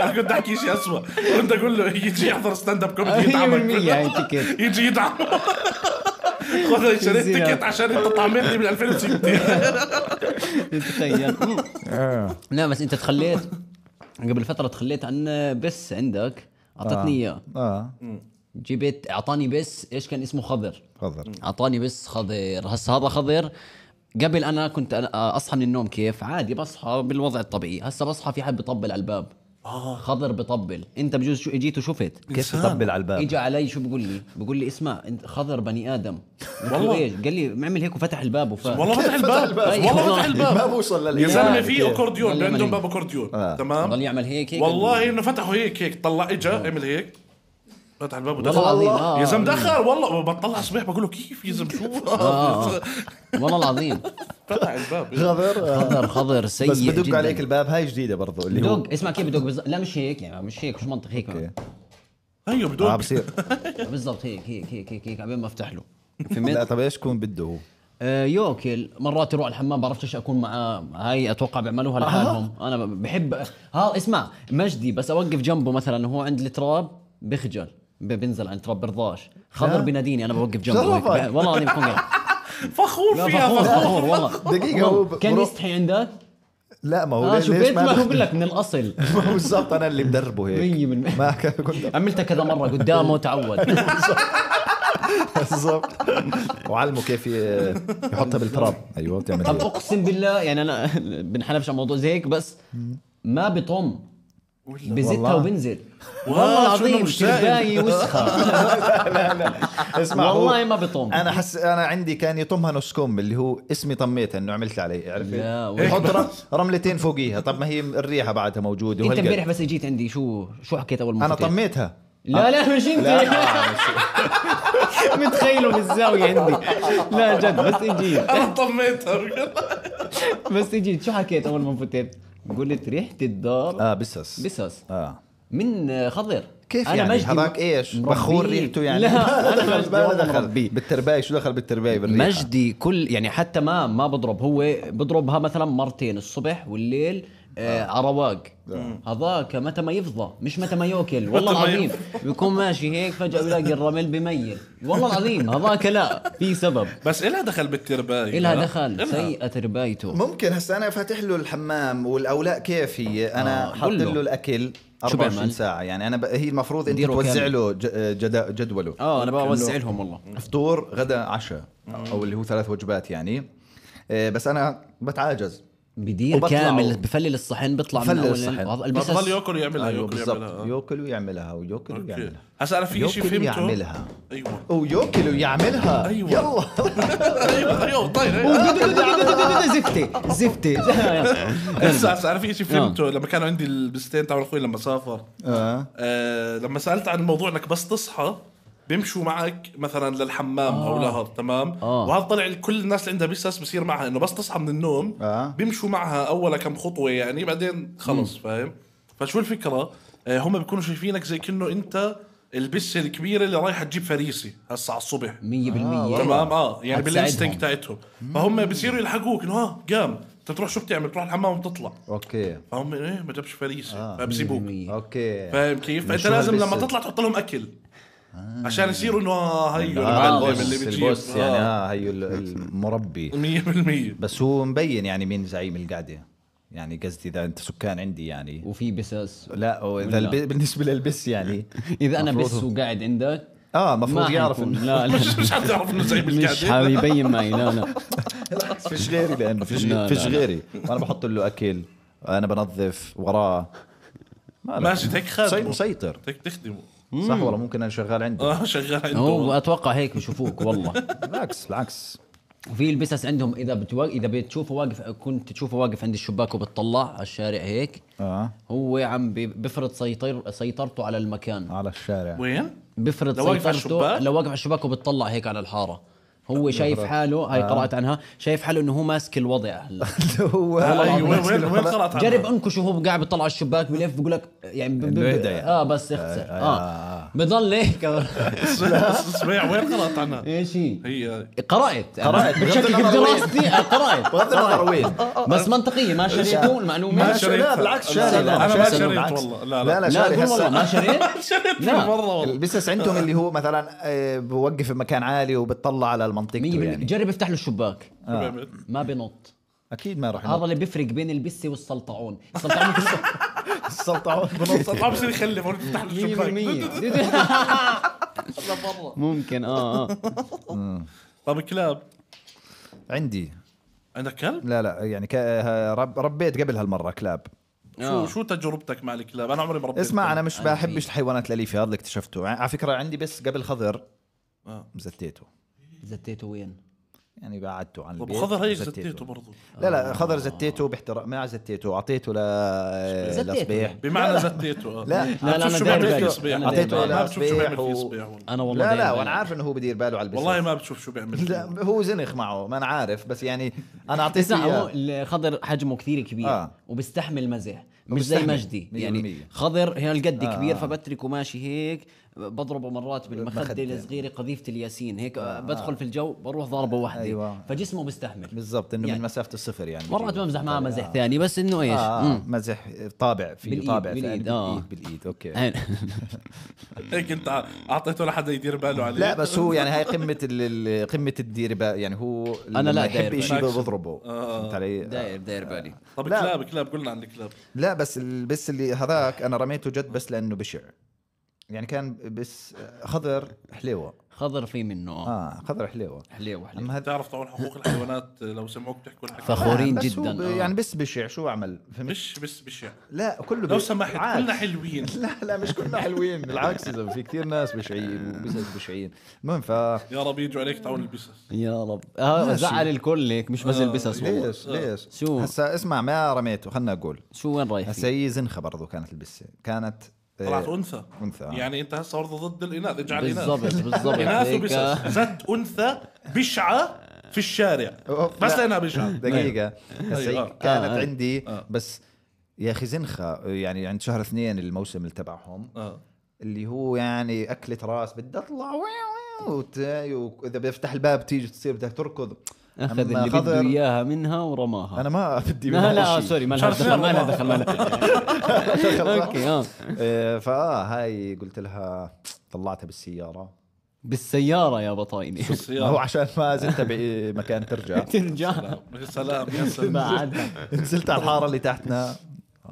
S1: انا كنت احكي شيء اسوء كنت اقول له يجي يحضر ستاند اب
S3: أيوة،
S1: كوميدي
S2: 100%
S1: يدعمك
S2: هاي تيكت
S1: يجي يدعمك خذ شريت
S2: زينة.
S1: تيكت عشان انت طعمتني من 2006
S2: تخيل
S3: آه.
S2: لا بس انت تخليت قبل فتره تخليت عن بس عندك اعطتني اياه
S3: اه
S2: جبت اعطاني بس ايش كان اسمه خضر
S3: تفضل
S2: اعطاني بس خضر هسا هذا خضر قبل انا كنت أنا- اصحى من النوم كيف عادي بصحى بالوضع الطبيعي هسا بصحى في حد بطبل على الباب خضر بطبل انت بجوز شو اجيت وشفت
S3: كيف تطبل على الباب؟
S2: اجى علي شو بقول لي بقول لي اسمع انت خضر بني ادم قلت له
S1: والله.
S2: ايش قال لي اعمل هيك وفتح الباب وفات
S1: والله فتح الباب والله فتح
S3: ما
S1: الباب
S3: بوصل للإيمان.
S1: يا زلمه في
S3: كيف؟
S1: اكورديون
S2: والله
S1: عندهم
S2: مليان.
S1: باب اكورديون
S3: آه.
S2: ضل
S1: تمام
S2: يعمل هيك هيك
S1: والله انه فتحوا هيك هيك طلع اجى عمل هيك فتح الباب ودخل
S2: آه. والله العظيم، آه.
S1: يا زلمه دخل والله بطلع صبيح بقول له كيف يا زلمه شو
S2: آه. والله العظيم
S1: فتح الباب
S3: خضر آه.
S2: خضر خضر سيء
S3: بس بدق
S2: جداً.
S3: عليك الباب هاي جديده برضو اللي هو
S2: بدق اسمع كيف بدق بالز- لا مش هيك يعني مش هيك مش منطق هيك
S1: ايوه
S3: اه
S2: آه،
S1: بدون
S3: بصير
S2: بالضبط هيك هيك هيك هيك هيك عبين ما افتح له
S3: لا
S2: فهمت؟
S3: طب ايش يكون بده هو؟
S2: آه، يوكل مرات يروح الحمام بعرفش ايش اكون معاه هاي اتوقع بيعملوها لحالهم انا ب- بحب ها اسمع مجدي بس اوقف جنبه مثلا وهو عند التراب بخجل ب- بنزل عند التراب برضاش خضر بناديني انا بوقف جنبه هيك.
S3: شرفك.
S2: ب- والله العظيم بكون قاعد.
S1: فخور
S2: لا
S1: فيها
S2: فخور
S1: فخور
S2: فخور والله
S3: دقيقة، هو ب-
S2: كان
S3: برو-
S2: يستحي عندك؟
S3: لا ما هو
S2: اه
S3: ليه- ليش
S2: شفت ما
S3: ما
S2: هو أيوه. بقول لك من الاصل
S3: ما هو بالضبط انا اللي بدربه هيك
S2: 100%
S3: ما كان- كنت
S2: عملتها كذا مره قدامه تعود
S3: بالضبط وعلمه كيف ي- يحطها بالتراب ايوه بتعمل
S2: طب
S3: هيك.
S2: اقسم بالله يعني انا بنحلفش على موضوع زي هيك بس ما بطم بزتها
S3: والله.
S2: وبنزل
S1: والله
S2: والله
S1: شو إنه
S2: العظيم
S1: مش سائل.
S2: شرباية وسخة
S3: اسمع هو-
S2: والله ما بطم
S3: انا حس انا عندي كان يطمها نسكم اللي هو اسمي طميتها انه عملت علي عرفت
S2: لا، والله.
S3: يحط رم- رملتين فوقيها طب ما هي الريحه بعدها موجوده
S2: انت
S3: وهالقد.
S2: امبارح بس اجيت عندي شو شو حكيت اول ما
S3: انا
S2: فتيت؟
S3: طميتها
S2: لا لا مش
S3: لا،
S2: انت
S3: لا،
S2: متخيله بالزاوية عندي لا جد بس اجيت
S1: انا طميتها
S2: بس اجيت شو حكيت اول ما فتت قلت ريحة الدار
S3: اه بسس
S2: بسس
S3: اه
S2: من خضر
S3: كيف يعني
S2: آه. مجدي
S3: هذاك ايش
S2: مربيه.
S3: بخور ريحته يعني
S2: لا انا مجدي
S3: ما
S2: والله
S3: دخل
S2: مربيه
S3: بالترباية شو دخل بالترباية بالريحة
S2: مجدي كل يعني حتى ما ما بضرب هو بضربها مثلا مرتين الصبح والليل آه عرواق هذاك متى ما يفضى مش متى ما ياكل والله
S1: متى ما
S2: العظيم بيكون ماشي هيك فجاه بلاقي الرمل بميل والله العظيم هذاك لا في سبب
S1: بس الها دخل بالتربايه
S2: إلها
S1: لا؟
S2: دخل
S1: إلها.
S2: سيئة ربايته
S3: ممكن هسه انا فاتح له الحمام والاولاء كيف هي انا
S2: آه،
S3: آه.
S2: قل
S3: حط
S2: له.
S3: له الاكل
S2: بيعمل؟
S3: 24 ساعة يعني انا ب... هي المفروض انت
S2: ديره
S3: توزع
S2: كامل.
S3: له ج... جد... جدوله
S2: اه انا بوزع
S3: إنه
S2: لهم والله
S3: فطور غدا عشاء
S2: آه.
S3: او اللي هو ثلاث وجبات يعني آه، بس انا بتعاجز
S2: بدير
S3: وبطلع
S2: كامل
S3: و-
S2: بفلل الصحن بيطلع من
S3: بفلل
S2: اول
S3: الصحن.
S2: هذا
S1: بضل
S2: البسس
S1: ياكل يعملها
S3: ايوه
S1: ياكل
S3: بالضبط
S1: آه، يعملها
S3: ياكل ويعملها وياكل ويعملها
S1: هسا انا في شيء
S3: ياكل
S1: فهمته
S3: يعملها.
S1: ايوه
S3: وياكل ويعملها
S1: أيوة.
S3: يلا
S1: ايوه ايوه طيب
S2: زفتة زفتة
S1: هسا هسا انا في شيء فهمته لما كانوا عندي البستين تبع اخوي لما سافر
S3: آه.
S1: آه، لما سالت عن موضوع انك بس تصحى بيمشوا معك مثلا للحمام او لهر تمام
S2: آه.
S1: وهذا طلع كل الناس اللي عندها بسس بصير معها انه بس تصحى من النوم
S3: آه.
S1: بيمشوا معها اول كم خطوه يعني بعدين خلص فاهم فشو الفكره آه، هم بيكونوا شايفينك زي كأنه انت البسه الكبيره اللي رايحه تجيب فريسه هسا على الصبح
S2: 100%
S1: تمام اه يعني
S2: هتساعدهم.
S1: بالانستنكت تاعتهم فهم بصيروا يلحقوك انه ها قام انت بتروح شو بتعمل يعني بتروح الحمام وبتطلع
S3: اوكي
S1: فهم ايه ما جابش فريسه فبسيبوك
S2: 100%.
S3: اوكي
S1: فاهم كيف؟ فانت
S3: شو
S1: لازم لما
S3: هالبسة؟
S1: تطلع تحط لهم اكل عشان يصيروا انه آه، هيو
S3: آه
S1: المعلم
S3: البوس
S1: اللي بتجيب آه،
S3: البوس يعني اه هيو ال- المربي
S1: 100%
S3: بس هو مبين يعني مين زعيم القعده يعني قصدي اذا انت سكان عندي يعني
S2: وفي بسس
S3: لا واذا الب... بالنسبه للبس يعني
S2: اذا انا
S3: مفروض
S2: بس
S3: هو-
S2: وقاعد عندك
S3: اه المفروض يعرف
S2: حيكون.
S3: انه
S2: لا لا
S1: مش مش حتعرف انه زعيم
S2: مش
S1: القعده
S2: حابب يبين معي لا لا
S3: فيش غيري لانه فيش
S2: لا، لا،
S3: فيش
S2: لا.
S3: غيري انا بحط له اكل انا بنظف وراه ما له.
S1: ماشي هيك
S3: سي-
S1: خادمه
S3: مسيطر
S1: هيك تخدمه
S3: صح والله ممكن انا شغال عندي
S1: اه شغال عنده
S2: هو
S1: والله.
S2: اتوقع هيك بشوفوك والله
S3: بالعكس بالعكس
S2: وفي البسس عندهم اذا بتوا... اذا بتشوفه واقف كنت تشوفه واقف عند الشباك وبتطلع على الشارع هيك
S1: آه.
S3: اه
S2: هو عم بي- بفرض سيطر سيطرته على المكان
S3: على الشارع
S1: وين؟
S2: بفرض
S1: آه. لو واقف على
S2: سيطرته
S1: الشباك؟
S2: لو واقف على الشباك وبتطلع هيك على الحاره هو شايف حاله
S1: آه.
S2: هاي قرات عنها شايف حاله انه هو ماسك الوضع هلا
S3: هو
S1: أيوة، وين وين وين قرأت عنها؟
S2: جرب انكش وهو قاعد بيطلع على الشباك بلف بقول لك يعني ب... ب...
S3: إنه يهدى يعني.
S2: اه بس اخسر
S3: آه.
S2: اه بضل هيك
S1: اسمع وين قرأت عنها؟
S2: ايش هي؟
S1: هي
S2: قرات
S3: قرأت، بغض
S2: بشكك
S3: النظر وين.
S2: بدراستي آه، قرات
S3: بغض النظر وين
S2: بس منطقيه ما شريته المعلومه
S1: ما
S3: لا،
S1: شريت.
S3: لا بالعكس شاري
S2: لا،
S1: أنا ما
S3: شاري،
S1: شريت
S3: بالعكس.
S1: والله. لا، لا.
S3: لا لا
S2: لا
S3: شاري
S2: قول والله
S3: هسه
S2: ما شريت
S1: شريت
S2: لا.
S1: مره والله
S3: البسس عندهم اللي هو مثلا آه، بوقف بمكان عالي وبتطلع على المنطقه
S2: 100%
S3: يعني
S2: جرب افتح له الشباك
S1: شباب.
S2: ما بنط
S3: اكيد ما راح
S2: هذا اللي بيفرق بين البسه والسلطعون السلطعون ممكن
S3: السلطعون بنص
S1: ما بصير يخلف هون تفتح له الشباك
S2: 100% ممكن اه اه
S1: طب كلاب
S3: عندي
S1: طيب عندك كلب؟
S3: لا لا يعني ك... ها- رب... ربيت قبل هالمره كلاب
S1: شو شو تجربتك مع الكلاب؟ انا عمري ما ربيت
S3: اسمع
S1: كلب.
S3: انا مش بحبش الحيوانات الاليفه هذا اللي اكتشفته ع- على فكره عندي بس قبل خضر
S1: آه.
S3: زتيته
S2: زتيته وين؟
S3: يعني بعدته عن
S1: طب
S3: البيت
S1: خضر هيك
S3: وزتيته.
S1: زتيته برضه
S3: لا لا خضر زتيته باحترام ما زتيته اعطيته ل
S2: زتيته
S3: لصبيح
S2: يعني.
S1: بمعنى زتيته آه.
S3: لا.
S1: ما
S3: لا،
S2: لا،
S1: بتشوف
S2: أنا
S1: شو
S2: داير
S1: بيعمل
S2: بالي.
S1: فيه صبيح
S2: أنا
S3: أعطيته
S1: والله. ما
S3: لا،
S1: بتشوف شو بيعمل فيه
S3: صبيح و-
S1: صبيح والله
S2: انا والله
S3: لا
S2: داير
S3: لا
S2: بالي.
S3: وانا عارف انه هو بدير باله على البسس
S1: والله ما بتشوف شو بيعمل
S3: لا
S1: فيه
S3: هو زنخ معه ما انا عارف بس يعني انا اعطيته
S2: اسمع هو
S3: اياه
S2: الخضر حجمه كثير كبير
S3: آه.
S2: وبيستحمل مزح مش زي
S3: وبيستحمل،
S2: مجدي
S3: مية
S2: يعني
S3: بالمية.
S2: خضر هالقد آه. كبير فبتركه ماشي هيك بضربه مرات بالمخده
S3: بالمخدة.
S2: الصغيره قذيفه الياسين هيك آه. بدخل في الجو بروح ضاربه وحده أيوة.
S3: أيوة.
S2: فجسمه بيستحمل
S3: بالضبط انه
S2: يعني.
S3: من مسافه الصفر يعني
S2: مرات
S3: بجيبه.
S2: بمزح معاه مزح ثاني بس انه ايش
S3: آه
S2: آه.
S3: مزح طابع في
S2: بالإيد،
S3: طابع
S2: بالإيد،
S3: بالإيد
S2: آه.
S3: بالإيد, بالايد اوكي
S1: هيك انت اعطيته لحدا يدير باله عليه
S3: لا بس هو يعني هاي قمه ال- ال- قمه الدير بقى يعني هو
S2: أنا لا
S3: لما
S2: داير
S3: يحب
S2: بالي.
S3: شيء بضربه
S1: آه.
S3: فهمت علي؟
S2: داير داير بالي
S1: طب
S3: لا.
S1: كلاب كلاب قلنا عن طيب الكلاب
S3: لا بس ال- بس اللي هذاك انا رميته جد بس لانه بشع يعني كان بس خضر حليوه
S2: خضر في منه آه.
S3: اه خضر حليوه
S2: حليوه حليوه
S3: اما هذا
S1: بتعرف طبعا حقوق الحيوانات لو سمعوك تحكوا الحكي
S2: فخورين
S3: بس هو
S2: جدا
S3: ب-
S2: آه.
S3: يعني بس بشع شو اعمل فهمت؟
S1: مش بس بشع
S3: لا كله
S1: يعني. لو
S3: بي-
S1: سمحت
S3: عادي.
S1: كلنا حلوين
S3: لا لا مش كلنا حلوين بالعكس يا زلمه في كثير ناس بشعين
S2: آه.
S3: وبزنس بشعين المهم ف
S1: يا رب يجوا عليك تعاون البسس
S2: يا رب آه زعل الكل هيك مش بس البسس والله
S3: آه. ليش ليش
S2: آه. شو؟
S3: هسا اسمع ما رميته خلنا اقول
S2: شو وين رايح
S3: هسا
S2: فيه؟
S3: هي زنخه برضو كانت البسه كانت آه،
S1: طلعت انثى
S3: أنثى، آه.
S1: يعني انت هسه برضه ضد الاناث اجعل اناث
S2: بالضبط بالضبط
S1: اناث
S2: هيك، آه.
S1: وبسس زت انثى بشعه في الشارع
S3: أوف،
S1: بس
S3: لا.
S1: لانها بشعه
S3: دقيقه هسا
S1: أيوة.
S3: هي
S1: آه.
S3: كانت
S2: آه.
S3: عندي بس يا اخي زنخه يعني عند شهر اثنين الموسم اللي تبعهم
S1: آه.
S3: اللي هو يعني اكله راس بدي اطلع ويو- ويو، وت- واذا بفتح الباب تيجي تصير بدك تركض
S2: اخذ
S3: أما
S2: اللي
S3: خضر،
S2: بده اياها منها ورماها
S3: انا ما بدي
S2: لا
S3: منها
S2: لا
S3: شيء.
S2: سوري ما لها
S1: مش عارف
S2: دخل ما لها
S1: ليه.
S2: دخل ما لها دخل. اوكي اه
S3: آه، فاه هاي قلت لها طلعتها بالسياره
S2: بالسياره يا بطايني
S3: ما هو
S1: السيارة
S3: عشان ما زلت بمكان ترجع
S2: ترجع
S1: يا سلام يا سلام
S2: بعد
S3: نزلت على الحاره اللي تحتنا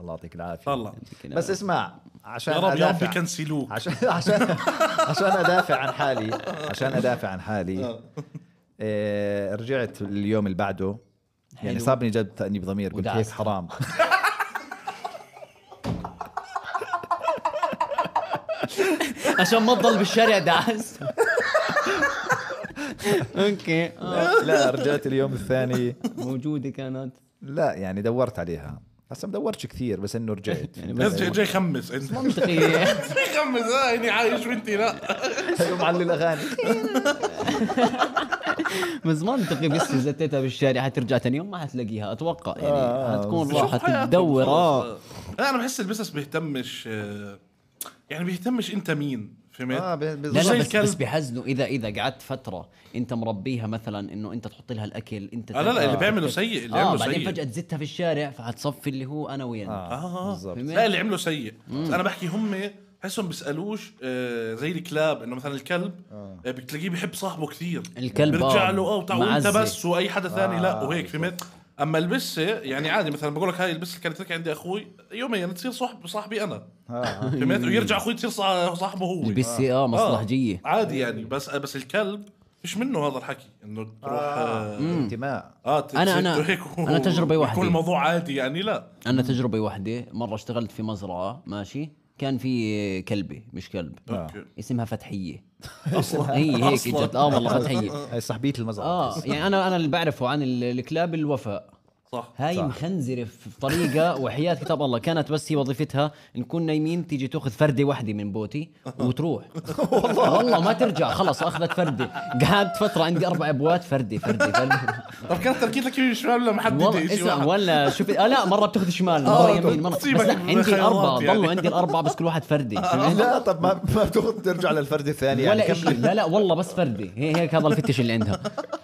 S3: الله يعطيك العافيه
S1: طلع
S3: بس اسمع عشان
S1: يا رب يا رب
S3: أدافع-
S1: يكنسلوك
S3: عشان عشان عشان ادافع عن حالي عشان ادافع عن حالي آه، رجعت اليوم اللي بعده يعني
S2: حلو.
S3: صابني جد تأنيب ضمير قلت
S2: ودعست.
S3: هيك حرام
S2: عشان ما تضل بالشارع دعس اوكي آه.
S3: لا رجعت اليوم الثاني
S2: موجوده كانت
S3: لا يعني دورت عليها هسا ما دورتش كثير بس انه رجعت
S2: يعني
S1: بس جاي جاي خمس انت
S2: منطقيه
S1: جاي خمس آه، اني عايش وانت لا
S3: حلو معلي الاغاني
S2: بس منطقي بس إذا زتيتها بالشارع حترجع ثاني يوم ما حتلاقيها اتوقع يعني
S3: آه،
S2: حتكون
S1: شوف
S2: راحت
S1: حياتهم
S2: تدور
S1: خلاص.
S2: اه
S1: لا انا بحس البسس بيهتمش آه، يعني بيهتمش انت مين فهمت؟
S3: اه ب-
S2: لا
S1: زي
S2: لا
S3: بالضبط
S2: بس,
S1: الكلب.
S2: بس بحزنوا اذا اذا قعدت فتره انت مربيها مثلا انه انت تحط لها الاكل انت
S1: آه لا لا اللي
S2: تاكل.
S1: بيعمله سيء اللي
S2: اه
S1: بيعمله
S2: بعدين
S1: سيء
S2: فجاه تزتها في الشارع فحتصفي اللي هو انا وينك آه.
S1: اه
S3: بالضبط.
S2: فهمت؟
S1: لا اللي عمله سيء بس انا بحكي هم بحسهم بيسالوش آه، زي الكلاب انه مثلا الكلب آه، بتلاقيه بيحب صاحبه كثير
S2: الكلب،
S1: بيرجع
S2: آه،
S1: له اه تعال انت
S2: معزة.
S1: بس واي حدا ثاني لا وهيك فهمت اما البسه يعني عادي مثلا بقول لك هاي البسه اللي كانت لك عندي اخوي يوميا تصير صاحب صاحبي انا
S2: آه.
S1: فهمت ويرجع اخوي تصير صاح- صاحبه هو آه.
S2: البسي اه مصلحجيه
S1: عادي يعني بس بس الكلب فيش منه هذا الحكي انه تروح
S3: آه.
S1: اه,
S3: انتماء
S1: آه تت-
S2: أنا- أنا-
S1: تت- هيك و-
S2: أنا تجربة
S1: يكون
S2: وحدي.
S1: الموضوع عادي يعني لا
S2: انا تجربه واحده مره اشتغلت في مزرعه ماشي كان في كلبه مش كلب
S1: أوكي.
S2: اسمها فتحيه اصلا هي هيك اجت اه والله فتحيه
S3: هاي صاحبيه المزرعه
S2: اه يعني انا انا اللي بعرفه عن ال- الكلاب الوفاء
S1: صح
S2: هاي
S3: صح.
S2: مخنزره في طريقه وحياه كتاب الله كانت بس هي وظيفتها نكون نايمين تيجي تاخذ فرده واحده من بوتي وتروح والله والله ما ترجع خلص اخذت فرده قعدت فتره عندي اربع ابوات فرده فرده فرده
S1: طب كانت تركيتك يمين شمال لما حد
S2: والله
S1: يجي
S2: اسمع
S1: واحد.
S2: ولا شوف آه لا مره بتاخذ شمال مره
S1: آه،
S2: يمين مره بس
S1: تصيبك
S2: لا عندي
S1: بالخيارات
S2: الاربعه
S1: يعني.
S2: ضلوا عندي الاربعه بس كل واحد فردي فهمت؟
S3: لا طب ما ما بتاخذ ترجع للفرد الثاني يعني
S2: آه. ولا
S3: كمل
S2: شيء لا لا والله بس فردي هي هيك هذا الفتش اللي عندها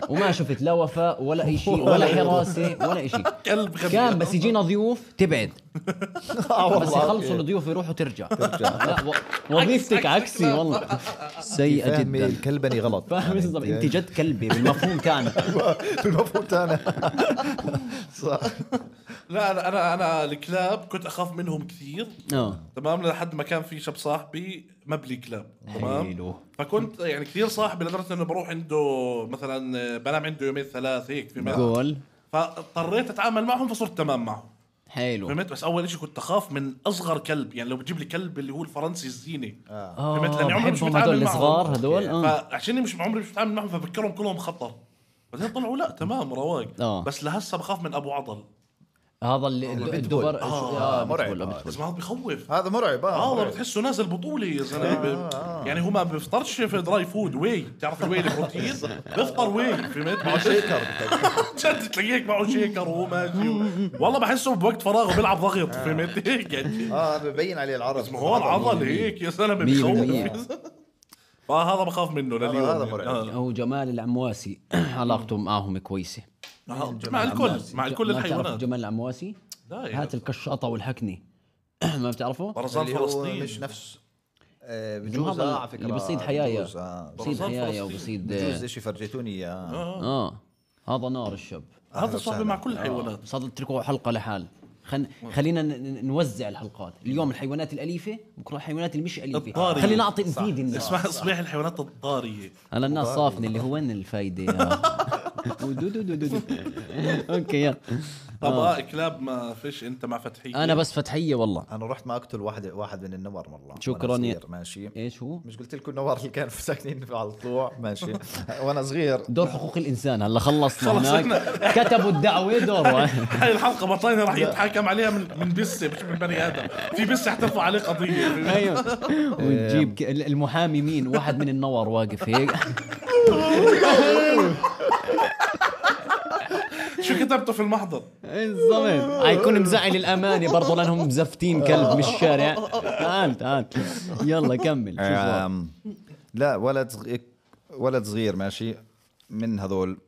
S2: وما شفت لا وفاء ولا أي شيء ولا حراسه ولا شيء
S1: كلب غبي
S2: كان بس يجينا ضيوف تبعد
S3: آه، والله.
S2: بس يخلصوا الضيوف يروحوا ترجع لا و- وظيفتك عكسي والله سيئه
S3: فهمي
S2: جدا
S3: الكلبني غلط يعني
S2: فاهم بالضبط انت جد كلبي بالمفهوم كان
S3: في المفروض انا صح
S1: لا انا انا انا الكلاب كنت اخاف منهم كثير
S2: اه
S1: تمام لحد ما كان في شاب صاحبي مبلي كلاب
S2: حلو.
S1: تمام فكنت يعني كثير صاحبي لدرجه انه بروح عنده مثلا بنام عنده يومين ثلاث هيك في مره
S2: جول
S1: فاضطريت اتعامل معهم فصرت تمام معهم
S2: حلو
S1: فهمت بس اول شيء كنت اخاف من اصغر كلب يعني لو بتجيب لي كلب اللي هو الفرنسي الزينه
S2: اه
S1: فهمت؟ لأني عمري مش
S2: بحبهم
S1: متعامل
S2: هدول
S1: معهم.
S2: الصغار هدول اه
S1: فعشان مش عمري مش بتعامل معهم فبفكرهم كلهم خطر بعدين طلعوا لا تمام رواق
S2: آه.
S1: بس لهسه بخاف من ابو عضل
S2: هذا اللي الد-
S3: البتبول.
S2: الدبر
S3: آه،
S2: آه
S3: مرعب.
S2: بتبول،
S3: آه،
S2: بتبول.
S1: بس ما هذا بخوف
S3: هذا آه، مرعب
S1: هذا
S3: اه
S1: آه، بتحسه نازل بطوله يا زلمه يعني هو ما بيفطرش في دراي فود واي بتعرف الواي البروتين بيفطر واي فهمت
S3: شيكر
S1: جد تلاقيك معه شيكر وهو ماشي والله بحسه بوقت فراغه بيلعب ضغط فهمت هيك يعني
S3: اه ببين عليه العرض
S1: ما هو العضل هيك يا زلمه
S2: مية بالمية.
S1: بخوف فهذا بخاف منه لليوم
S3: هذا مرعب.
S1: آه.
S2: هو جمال العمواسي علاقته معهم كويسه
S1: آه، مع الكل مع الكل
S2: ما بتعرف
S1: الحيوانات طيب.
S2: جمال العمواسي
S1: لا يا
S2: هات الكشاطه والحكني ما بتعرفه
S1: برزان
S3: اللي هو
S1: فلسطين
S3: مش نفس آه،
S2: هذا
S3: بجوز اه على فكره
S2: اللي بصيد حيايا.
S3: بجوز آه.
S2: بصيد
S1: برزان
S2: حيايا
S1: فلسطين.
S2: وبصيد
S3: بجوز آه. شيء فرجيتوني اياه
S2: اه هذا نار الشب
S1: هذا صعب مع كل الحيوانات
S2: صار اتركوا حلقه لحال خن... خلينا ن- ن- نوزع الحلقات اليوم الحيوانات الاليفه بكره الحيوانات اللي مش اليفه
S1: الضارية.
S2: خلينا نعطي نفيد الناس
S1: اسمع صبيح الحيوانات الضاريه
S2: هلا الناس صافنه اللي هو وين الفايده يا ودو دو دو دو دو. اوكي يلا
S1: طب اه كلاب ما فيش انت مع فتحيه
S2: انا بس فتحيه والله
S3: انا رحت ما اقتل واحد واحد من النور مره وأنا
S2: شكراً يا-
S3: صغير، ماشي
S2: ايش هو؟
S3: مش قلت لكم النوار اللي كان ساكنين على الطلوع ماشي وانا صغير
S2: دور حقوق الانسان هلا خلصنا
S1: خلصنا.
S2: هناك كتبوا الدعوه دور
S1: هاي الحلقه بطلنا راح يتحاكم عليها من من بسه مش من بني ادم في بسه حترفع عليه قضيه
S2: ايوه وتجيب ك- المحامي مين واحد من النور واقف هيك
S1: شو كتبته في المحضر
S2: بالضبط حيكون آه. مزعل الامانه برضه لانهم مزفتين كلب من الشارع تعال تعال يلا كمل شو صار؟
S3: آم، لا ولد صغير ولد صغير ماشي من هذول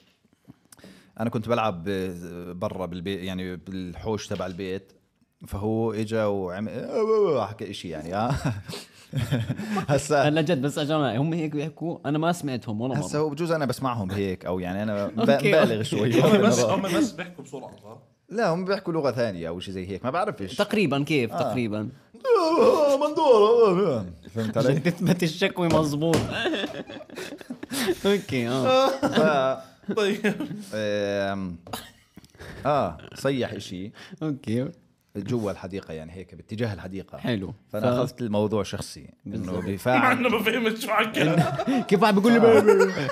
S3: انا كنت بلعب ب- برا بالبيت يعني بالحوش تبع البيت فهو اجى وعمل حكى شيء يعني اه هسا
S2: هلا جد بس يا جماعه هم هيك بيحكوا انا ما سمعتهم ولا
S3: هسا
S2: مره
S3: هو بجوز انا بسمعهم هيك او يعني انا ب-
S2: أوكي.
S3: بالغ شوي
S1: هم بس هم بس بيحكوا بسرعه صح؟
S3: لا هم بيحكوا لغه ثانيه او شيء زي هيك ما بعرف ايش
S2: تقريبا كيف
S3: آه.
S2: تقريبا
S3: مندور فهمت علي؟
S2: عشان تثبت الشكوى مظبوط اوكي اه
S1: طيب
S3: آم، اه صيح اشي
S2: اوكي
S3: جوا الحديقه يعني هيك باتجاه الحديقه
S2: حلو.
S3: فانا
S2: ف-
S3: اخذت الموضوع شخصي انه
S1: مع
S3: بفاعل
S1: انه ما فهمت شو حكى ما
S2: كيف واحد بيقول لي بيبي
S3: آه.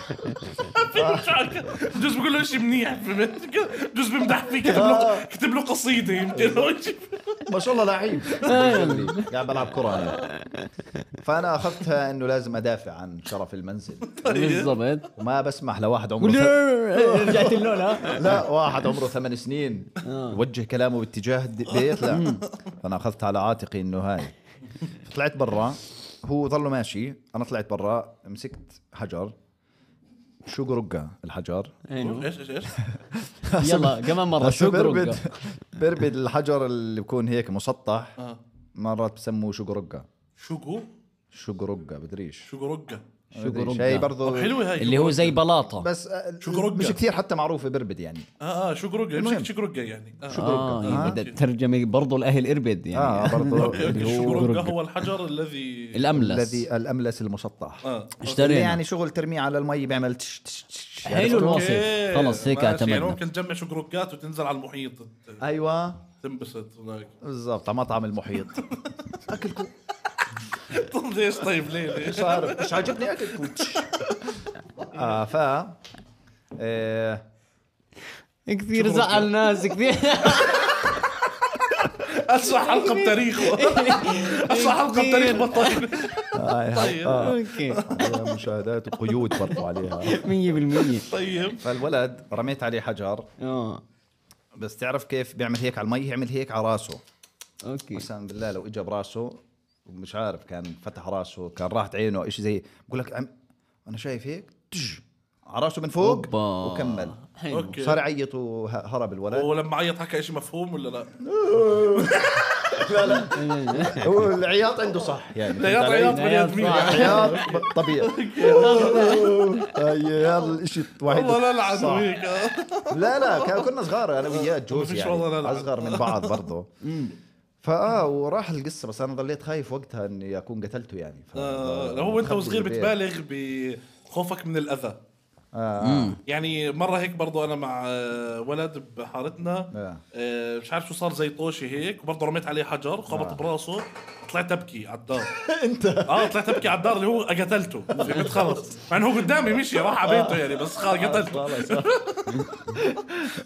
S1: فهمت شو حكى بجوز بقول له شيء منيح فهمت بجوز بمدح فيه كتب
S2: آه.
S1: له كتب له قصيده يمكن أو شيء.
S3: ما شاء الله لعيب
S2: آه.
S3: قاعد بلعب كره انا فانا اخذتها انه لازم ادافع عن شرف المنزل
S2: بالضبط
S3: وما بسمح لواحد عمره
S2: قول لي
S3: ث-
S2: بيبي. رجعت اللون ها
S3: لا واحد عمره ثمان سنين
S2: آه.
S3: يوجه كلامه باتجاه البيت لا فانا اخذت على عاتقي انه هاي طلعت برا هو ظله ماشي انا طلعت برا مسكت حجر شو قرقه الحجر
S2: حلو.
S1: ايش ايش ايش
S2: يلا كمان مره
S3: هسا
S2: آه، شو
S3: بربد
S2: برقة
S3: بربد الحجر اللي بكون هيك مسطح
S1: آه.
S3: مرات بسموه شقرقة
S1: شو جو
S3: شقرقة بدريش
S1: شو رقه
S2: شو جروب
S3: شيء
S2: ده؟
S1: طب
S3: برضه
S1: حلوه هاي
S2: اللي هو زي بلاطه
S3: بس آه،
S1: شو جروجا؟
S3: مش كثير حتى معروفه بربد يعني
S1: اه اه شو جروجا
S3: المهم.
S1: مش شو جروجا يعني آه.
S2: اه يعني
S3: آه.
S2: بدها ترجمه برضه الاهل اربد يعني
S3: اه برضه اللي
S1: شو
S3: هو
S1: جروجا هو الحجر الذي
S2: الاملس
S3: الذي الاملس المسطح
S1: اه
S3: اللي
S2: اشترينا
S3: يعني شغل ترميه على المي بيعمل تش تش تش
S2: حلو الوصف
S1: أوكي.
S2: خلص هيك
S1: ماشي، يعني
S2: اعتمدنا
S1: ممكن تجمع شو جروجات وتنزل على المحيط
S3: ايوه
S1: تنبسط هناك
S3: بالضبط على مطعم المحيط اكلكم
S1: ليش طيب ليه ليش
S3: مش عارف مش عاجبني اكلكم تش. اه ف آه،
S2: كثير زعل ناس كثير
S1: اسرع حلقه بتاريخه اسرع حلقه بتاريخ بطل طيب
S2: اوكي 100%
S3: عليها آه، مشاهدات وقيود برضو عليها
S1: طيب
S3: فالولد رميت عليه حجر
S2: اه
S3: بس تعرف كيف بيعمل هيك على المي يعمل هيك على راسه
S2: اوكي
S3: قسم بالله لو اجى براسه مش عارف كان فتح راسه كان راحت عينه شيء زي بقول لك عم انا شايف هيك تج على راسه من فوق
S2: أوبا.
S3: وكمل
S2: حلو.
S1: أوكي.
S3: صار يعيط وهرب الولد
S1: ولما عيط حكى شيء مفهوم ولا لا؟
S3: لا لا هو العياط عنده صح يعني
S1: لا يا عياط بني ادمين
S2: عياط صح.
S3: عياط طبيعي هي هذا الشيء الوحيد
S1: والله لا لعن
S3: صح.
S1: هيك آه.
S3: لا لا كان- كنا صغار انا وياه جوز
S1: فيش
S3: يعني
S1: والله لا لا.
S3: اصغر من بعض برضه فاه وراح القصه بس انا ضليت خايف وقتها اني اكون قتلته يعني ف...
S1: آه، هو انت
S3: دخلت
S1: وصغير
S3: بالبيت.
S1: بتبالغ بخوفك من الاذى
S3: آه.
S1: يعني مره هيك برضو انا مع آه، ولد بحارتنا
S3: آه.
S1: آه، مش عارف شو صار زي طوشي هيك وبرضه رميت عليه حجر خبط
S3: آه.
S1: براسه طلعت ابكي على الدار انت اه طلعت ابكي على الدار اللي هو قتلته في بيت خلص مع انه هو قدامي مشي راح على بيته يعني بس خلص
S3: آه.
S1: قتلته
S3: خلص آه.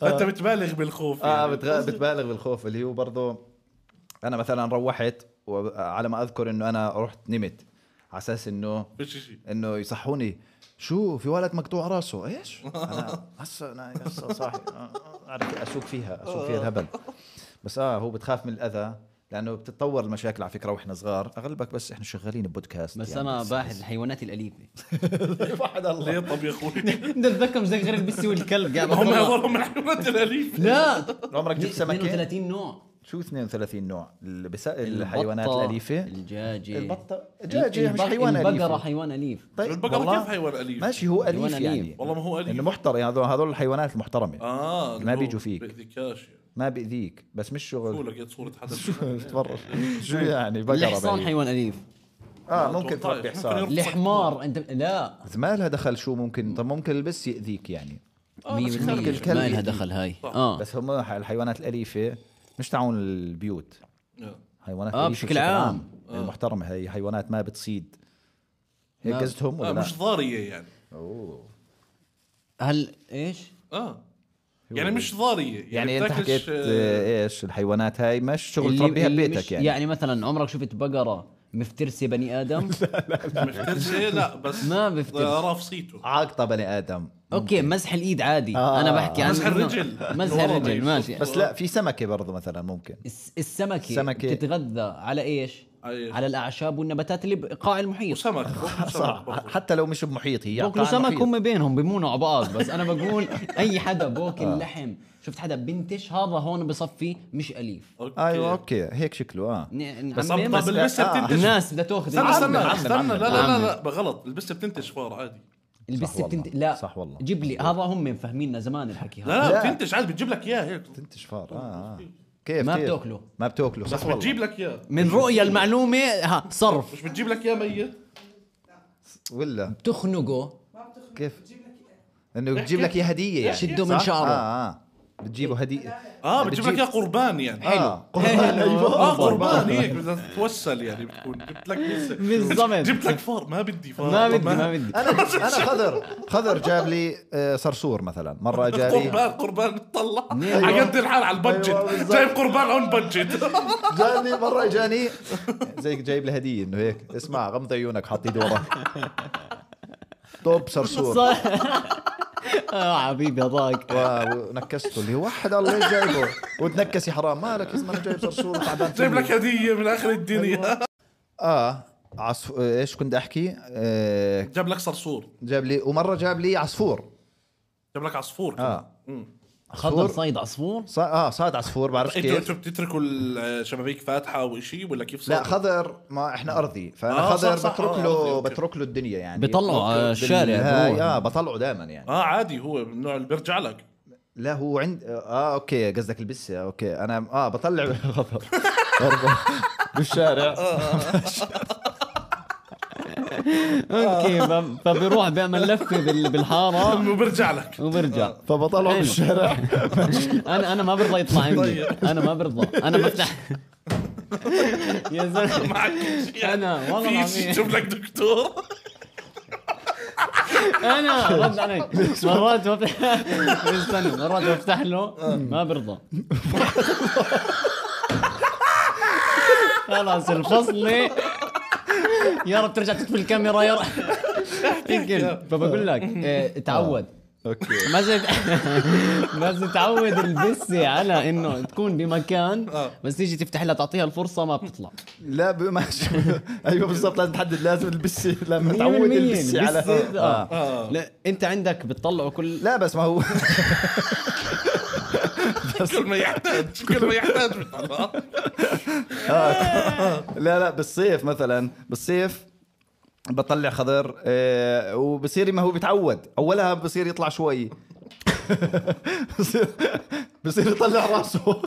S1: فانت بتبالغ بالخوف
S3: اه
S1: يعني.
S3: بتغ... بتبالغ بالخوف اللي هو برضه انا مثلا روحت وعلى ما اذكر انه انا رحت نمت على اساس انه
S1: مش شيء
S3: انه يصحوني شو في ولد مقطوع راسه ايش انا هسه انا هسه صاحي آه، آه، عارف اشوك فيها اشوك فيها الهبل بس اه هو بتخاف من الاذى لانه بتتطور المشاكل على فكره واحنا صغار اغلبك بس احنا شغالين ببودكاست
S2: بس
S3: يعني.
S2: انا باحث الحيوانات الاليفه
S3: واحد الله
S1: ليه طب يا اخوي
S2: انت تتذكر زي غير البسي والكلب قاعد
S1: هم
S2: بطلع.
S1: هذول من الحيوانات الاليفه
S2: لا
S3: عمرك جبت سمكه
S2: 32 نوع
S3: شو 32 نوع البس... الحيوانات
S2: البطة،
S3: الاليفه
S2: الدجاجه
S3: البطه دجاجه مش
S2: البق-
S3: حيوان
S2: البقره
S3: اليف
S2: حيوان اليف
S3: طيب
S1: البقرة
S3: والله
S1: كيف حيوان أليف؟
S3: ماشي هو
S2: حيوان
S3: اليف
S2: أليف.
S3: يعني
S1: والله ما هو أليف.
S3: انه محترم يعني هذول- هذول الحيوانات المحترمه
S1: اه
S3: ما بيجوا فيك.
S1: بيأذيكاش يعني.
S3: ما باذيك بس مش
S1: شو
S3: شغل
S1: لقيت صوره حدا
S3: تفرج شو يعني بقره
S2: الحصان
S3: بعيد.
S2: حيوان اليف
S3: اه ممكن
S1: 18.
S3: تربي
S1: طيب، ممكن
S3: حصان
S1: يربي.
S2: الحمار انت لا
S3: إذا ما لها دخل شو ممكن طب ممكن البس ياذيك يعني
S2: 100%
S1: آه، بس الكلب-
S2: ما
S3: الكلب
S2: لها
S3: يأذيك.
S2: دخل هاي اه
S3: بس هم الحيوانات الاليفه مش تعون البيوت
S1: آه.
S3: حيوانات
S2: آه،
S3: أليفة
S2: بشكل
S3: بشكل
S2: عام.
S3: المحترمه هي حيوانات ما بتصيد هيك
S2: ما-
S3: قصدهم
S1: اه
S3: ولا لا؟
S1: مش ضاريه يعني
S3: أوه.
S2: هل ايش؟
S1: اه يعني مش ضاريه
S3: يعني انت
S1: بتاكلش،
S3: حكيت
S1: آه،
S3: آه، ايش الحيوانات هاي مش شغل
S2: اللي-
S3: تربيها
S2: اللي
S3: ببيتك
S2: مش-
S3: يعني
S2: يعني مثلا عمرك شفت بقره مفترسه بني ادم؟
S1: مفترس إيه؟ لا بس
S2: ما بفترس.
S1: راف صيته
S3: عاقطه بني ادم
S2: اوكي مزح الايد عادي
S3: آه.
S2: انا بحكي عن
S1: مزح
S2: إنه-
S1: الرجل.
S2: مزح
S1: والله
S2: الرجل
S1: يشوف.
S2: ماشي
S3: بس لا في سمكه برضه مثلا ممكن
S2: الس- السمكه
S3: السمكة.
S2: بتتغذى على ايش؟
S1: أيش.
S2: على الاعشاب والنباتات اللي بقاع المحيط
S1: وسمك باكلوا سمك
S3: صح
S1: برضه.
S3: حتى لو مش بمحيط هي
S2: بوكلوا
S3: عقارة
S2: سمك
S3: محيط.
S2: هم بينهم بيمونوا على بعض بس انا بقول اي حدا
S3: آه.
S2: بوكل لحم شفت حدا بنتش هذا هون بصفي مش اليف
S1: أوكي.
S3: ايوه اوكي هيك شكله اه
S2: ن-
S1: بس
S2: نعمم؟
S1: طب البسه
S3: آه.
S1: بتنتج
S2: الناس بدها تاخذ
S1: استنى
S2: البسة.
S1: استنى
S3: عمم،
S1: استنى لا
S3: عمم،
S1: لا
S2: عمم.
S1: لا غلط البسه بتنتج فار عادي
S3: صح
S2: البسه
S3: والله.
S2: بتنت... لا
S3: صح والله.
S2: جيب لي هذا هم مفهميننا زمان الحكي هذا
S1: لا لا
S3: لا.
S1: بتنتج عادي بتجيب لك اياه هيك
S3: تنتج فار اه آه. كيف
S2: ما
S3: كيف؟
S2: بتاكله.
S3: ما بتاكله
S1: بس
S3: صح
S1: بتجيب
S3: والله
S1: لك اياه
S2: من رؤية المعلومة ها صرف
S1: مش بتجيب لك اياه ميت
S3: ولا
S2: تخنقه
S3: كيف انه بتجيب لك اياه هديه يعني
S2: شده من
S3: صح؟
S2: شعره.
S3: اه اه بتجيبه هديه
S1: اه بتجيب لك اياه قربان يعني
S3: اه
S2: حلو.
S3: قربان
S1: اه
S3: ايوه
S1: قربان هيك بدها تتوسل يعني بتكون جبت لك بسة.
S2: بالضبط.
S1: جبت لك فار ما بدي فار
S2: ما
S1: طب
S2: بدي ما بدي
S3: انا انا خضر خضر جاب لي آه، صرصور مثلا مره جاب لي
S1: قربان قربان بتطلع
S2: أيوة.
S1: على قد الحال على
S3: أيوة،
S1: البادجت
S3: بالظبط.
S1: جايب قربان اون بادجت
S3: جاني مره جاني زي جايب لي هديه انه هيك اسمع غمض عيونك حط ايدي وراك طوب صرصور
S2: صح. اه حبيبي هذاك
S3: ونكسته اللي هو واحد الله إيش جايبه وتنكس يا حرام مالك يا زلمه أنا جايب صرصور وتعبان
S1: جايب
S3: فيه.
S1: لك هديه من اخر الدنيا
S3: اه عصف... ايش كنت احكي آه...
S1: جاب لك صرصور
S3: جاب لي ومره جاب لي عصفور
S1: جاب لك عصفور كمان.
S3: اه
S1: مم.
S2: خضر صيد عصفور
S3: ص... اه صاد عصفور بعرفش
S1: انتوا
S3: كيف
S1: انتوا بتتركوا الشبابيك فاتحه او شيء ولا كيف صار؟
S3: لا خضر ما احنا ارضي فانا
S1: آه، صح،
S3: خضر
S1: صح،
S3: بترك
S1: آه، أوكي،
S3: له
S1: أوكي.
S3: بترك له الدنيا يعني
S2: بيطلعوا على آه، الشارع، بروح.
S3: اه بطلعه دائما يعني
S1: اه عادي هو من النوع اللي بيرجع لك
S3: لا هو عند اه اوكي قصدك البسه اوكي انا اه بطلع خضر بالشارع
S2: اوكي ف- فبيروح بيعمل لفه بال- بالحاره
S1: وبرجع لك
S2: وبرجع
S3: فبطلعه
S2: حلو.
S3: بالشارع
S2: انا انا ما برضى يطلع عندي
S1: طيب.
S2: انا ما برضى انا بفتح يا زلمه
S1: معك
S2: أنا، والله العظيم.
S1: شوف لك دكتور
S2: انا رد علي مرات بفتح استنى مرات بفتح له ما برضى خلاص الفصلة يا رب ترجع تطفي الكاميرا يا رب يمكن فبقول لك آه، تعود
S3: اوكي
S2: بس بس تعود البسة على انه تكون بمكان
S1: آه.
S2: بس تيجي تفتح لها تعطيها الفرصة ما بتطلع
S3: لا ب- ماشي ايوه بالضبط لازم تحدد لازم البسه لما
S2: 100%
S3: تعود البسه على
S2: البسة،
S3: آه.
S2: آه. لا انت عندك بتطلعوا كل
S3: لا بس ما هو
S1: كل ما يحتاج كل ما يحتاج بيطلع.
S3: لا لا بالصيف مثلا بالصيف بطلع خضر آه، وبصير ما هو بيتعود اولها بصير يطلع شوي بصير بصير يطلع راسه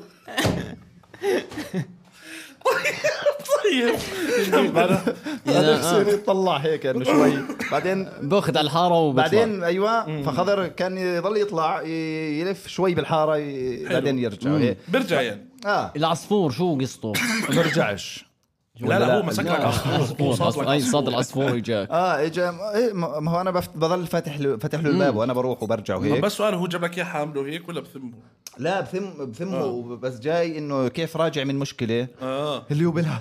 S1: طيب
S3: بعد- بعدين بصير يطلع هيك انه شوي بعدين
S2: باخذ على الحارة وبطلع
S3: بعدين ايوه فخضر كان يضل يطلع ي- يلف شوي بالحاره ي- بعدين يرجع هيك.
S1: برجع يعني
S3: اه
S2: العصفور شو قصته؟
S3: ما برجعش
S1: لا لا هو مسك لك عصفور صاد
S2: عصفور
S1: لك
S2: اي
S1: عصفور.
S2: صاد العصفور اجاك
S3: اه اجى إيه، ما ما هو انا بفت- بضل فاتح له فاتح له الباب وانا بروح وبرجع وهيك
S1: بس سؤال هو جاب لك اياه حامله هيك ولا بثمه؟
S3: لا بثم بثمه آه. بس جاي انه كيف راجع من مشكله
S1: اه
S3: اللي هو بيلعب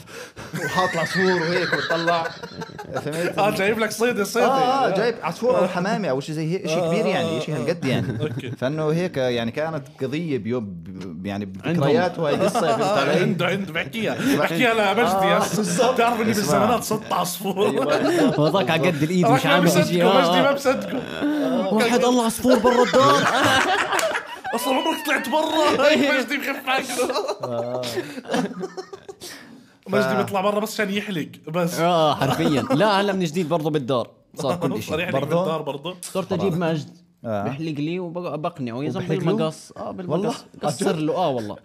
S3: وحاط عصفور وهيك وطلع فهمت؟
S1: اه جايب لك صيدة صيدة
S3: اه اه
S1: يعني.
S3: جايب عصفور او حمامه او شيء زي هيك شيء كبير يعني شيء هالقد يعني
S1: أوكي.
S3: فانه هيك يعني كانت قضيه بيوب يعني بذكريات وهي قصه فهمت علي؟
S1: عنده عنده بحكيها بحكيها لمجدي هسه بتعرف اني
S3: اسمع.
S1: بالزمانات صدت عصفور
S2: وضعك على قد الايد
S1: راح
S2: مش
S1: ما
S2: عامل شيء
S1: بصدقه مجدي ما
S2: آه، آه.
S1: بصدقه
S2: واحد الله عصفور برا الدار
S1: اصلا عمرك طلعت برا هيك مجدي مخف عنه مجدي بيطلع برا بس عشان يحلق بس
S2: اه حرفيا لا هلا من جديد برضه بالدار صار كل
S1: صار
S2: شيء
S1: يحلق
S3: برضه؟
S1: بالدار برضه
S2: صرت اجيب مجد
S3: آه.
S2: بحلق لي وبقنعه يا زلمه
S3: وبحلق له؟
S2: بالمقص اه
S3: والله؟
S2: بالمقص كسر له اه والله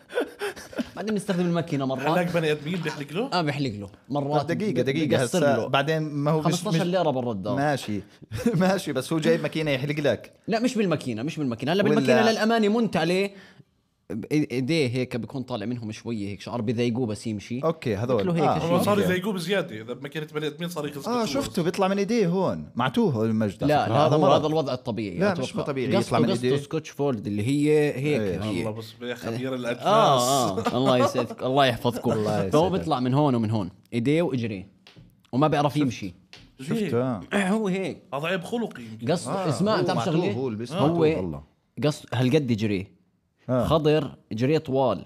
S2: بعدين نستخدم الماكينه مرات
S1: حلاق بني ادمين بيحلق له
S2: اه بحلق له مرات
S3: طب دقيقه دقيقه
S2: بقصر
S3: هسه
S2: له.
S3: بعدين ما هو مش-
S2: 15
S3: مش-
S2: ليره برا الدار
S3: ماشي ماشي بس هو جايب ماكينه يحلق لك
S2: لا مش بالماكينه مش بالماكينه هلا
S3: ولا-
S2: بالماكينه للامانه منت عليه بإي- ايديه هيك بيكون طالع منهم شويه هيك شعر بيضايقوه بس يمشي
S3: اوكي هذول آه.
S2: شكله هيك شيء.
S1: هو صار
S3: أوكي.
S1: يضايقوه بزياده اذا بماكينه بني ادمين صار يخزق
S2: آه،
S3: اه شفته بيطلع من ايديه هون معتوه المجد على
S2: لا
S3: فكرة.
S2: لا هذا هو
S3: مرض.
S2: هذا الوضع الطبيعي
S3: لا،
S2: أتوقع.
S3: مش طبيعي،
S2: قصته-
S3: يطلع من
S2: قصته
S3: إيديه.
S2: سكوتش فولد اللي هي هيك
S3: إيه. آه،
S1: الله
S2: هي.
S1: بس يا خبير
S2: اه
S1: الاجناس
S2: اه الله يسعدك الله يحفظكم
S3: الله يسعدك.
S2: فهو بيطلع من هون ومن هون ايديه واجريه وما بيعرف يمشي إيه.
S1: شفته
S3: آه.
S2: هو هيك
S1: اضعيب خلقي يمكن.
S2: قصته
S3: آه،
S2: اسمع
S3: هو
S2: بتعرف
S3: معتوه،
S2: شغله
S3: هو اللي بيسمع
S2: هو
S3: معتوه والله.
S2: قص هالقد يجري
S3: آه.
S2: خضر جري طوال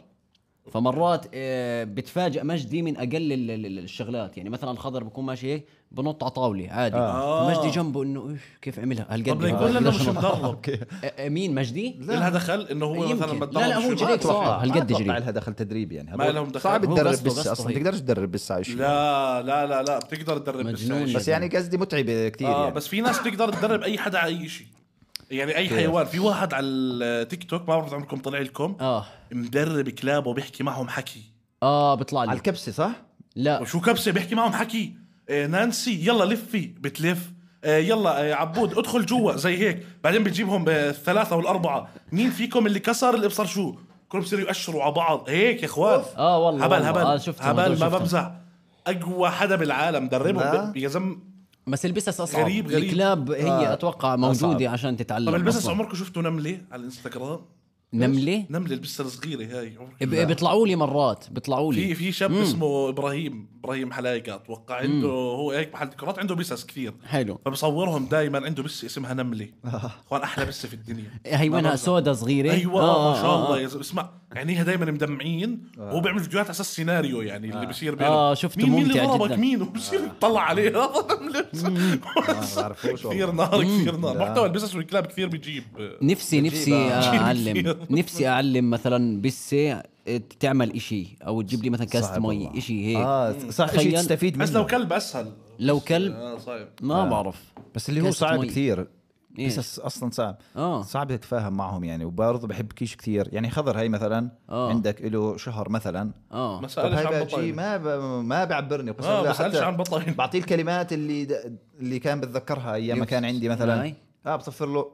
S2: فمرات آه، بتفاجئ مجدي من اقل ال- ال- ال- الشغلات يعني مثلا الخضر بكون ماشي هيك بنط على طاوله عادي
S1: آه.
S2: مجدي جنبه انه إيش، كيف عملها هالقد
S1: طب
S2: آه،
S1: ليكون لانه مش
S2: ليش نط؟
S1: مدرب
S2: آه، آه، مين مجدي؟
S1: لها دخل انه هو مثلا
S2: آه، يمكن.
S1: متدرب
S2: لا، لا، هو
S1: شو-
S2: جريء. هيك صار،
S3: ما
S2: هالقد
S3: أتوقع
S2: جريء.
S3: لها دخل تدريب يعني
S1: ما
S3: هذول
S1: لهم دخل.
S3: صعب
S2: هو
S3: تدرب
S2: قصده-
S3: بس
S2: قصده
S3: اصلا
S2: هيك.
S3: تقدرش تدرب بس على شيء
S1: لا لا لا لا بتقدر تدرب
S2: مجنون
S1: بالسعي.
S2: يا
S3: بس يعني قصدي متعبه كثير
S1: اه
S3: يعني
S1: بس في ناس بتقدر تدرب اي حدا على اي شيء يعني اي حيوان في واحد على التيك توك ما بعرف عمركم طلع لكم
S2: اه
S1: مدرب كلاب وبيحكي معهم حكي
S2: اه بيطلع
S3: على
S2: لي
S3: الكبسه صح؟
S2: لا
S1: وشو كبسه بيحكي معهم حكي آه نانسي يلا لفي بتلف آه يلا آه عبود ادخل جوا زي هيك بعدين بتجيبهم آه، الثلاثه والاربعه مين فيكم اللي كسر الابصر شو كلهم بصيروا يأشروا على بعض هيك يا اخوان
S2: آه والله،
S1: هبل
S2: والله.
S1: هبل
S2: آه، شفت
S1: هبل
S2: الموضوع،
S1: ما
S2: شفته.
S1: بمزح اقوى حدا بالعالم
S3: لا.
S1: دربهم ب- يا زلمه
S2: بس البسس اصعب
S1: غريب- غريب.
S2: الكلاب هي
S3: آه.
S2: اتوقع موجوده
S3: أصعب.
S2: عشان تتعلم
S1: طب البسس
S2: أصلاً.
S1: عمركم شفتوا نمله على الانستغرام
S2: نمله؟
S1: نمله البسه الصغيره هاي عمركم
S2: ب- بيطلعوا لي مرات بيطلعوا
S1: في
S2: لي
S1: في شاب اسمه ابراهيم ابراهيم حلايقه اتوقع عنده هو هيك محل ديكورات عنده بسس كثير
S2: حلو آه.
S1: فبصورهم دائما عنده بسه اسمها نمله اخوان احلى بسه في الدنيا
S2: هي وينها سودا صغيره
S1: ايوه آه ما شاء الله يا زلمه اسمع عينيها دائما مدمعين
S3: آه.
S1: وهو بيعمل فيديوهات على اساس سيناريو يعني اللي بصير بينهم
S2: آه، شفته
S1: مين مين
S2: ممتع
S1: اللي ضربك
S2: جداً. آه.
S1: مين وبصير يطلع عليه هذا نمله
S3: بعرفوش والله.
S1: كثير نار كثير نار
S3: لا.
S1: محتوى البسس والكلاب كثير بيجيب
S2: نفسي نفسي
S3: آه.
S2: اعلم نفسي اعلم مثلا بسه إيه، تعمل إشي او تجيب لي مثلا كاسه
S3: صعب والله.
S2: مي إشي هيك
S3: اه صح شيء
S2: تخيل.
S3: تستفيد
S1: بس لو
S3: منه
S1: كلب اسهل
S2: لو كلب
S1: آه، صعب
S2: ما بعرف
S3: بس اللي هو
S2: كاسة
S3: صعب
S2: مي.
S3: كثير
S2: إيه.
S3: بس اصلا صعب
S2: آه.
S3: صعب تتفاهم معهم يعني وبرضه بحب كيش كثير يعني خضر هاي مثلا
S2: آه.
S3: عندك له شهر مثلا
S2: اه
S1: ما
S3: طب
S1: سالش
S3: هاي
S1: عن
S3: بقى شيء
S1: بطل
S3: ما ب... ما بيعبرني قسم
S1: آه،
S3: بالله
S1: بسألش
S3: حتى
S1: عن بطاين.
S3: بعطيه الكلمات اللي د... اللي كان بتذكرها ايام ما
S2: يوسف
S3: كان عندي
S2: هاي.
S3: مثلا اه بصفر له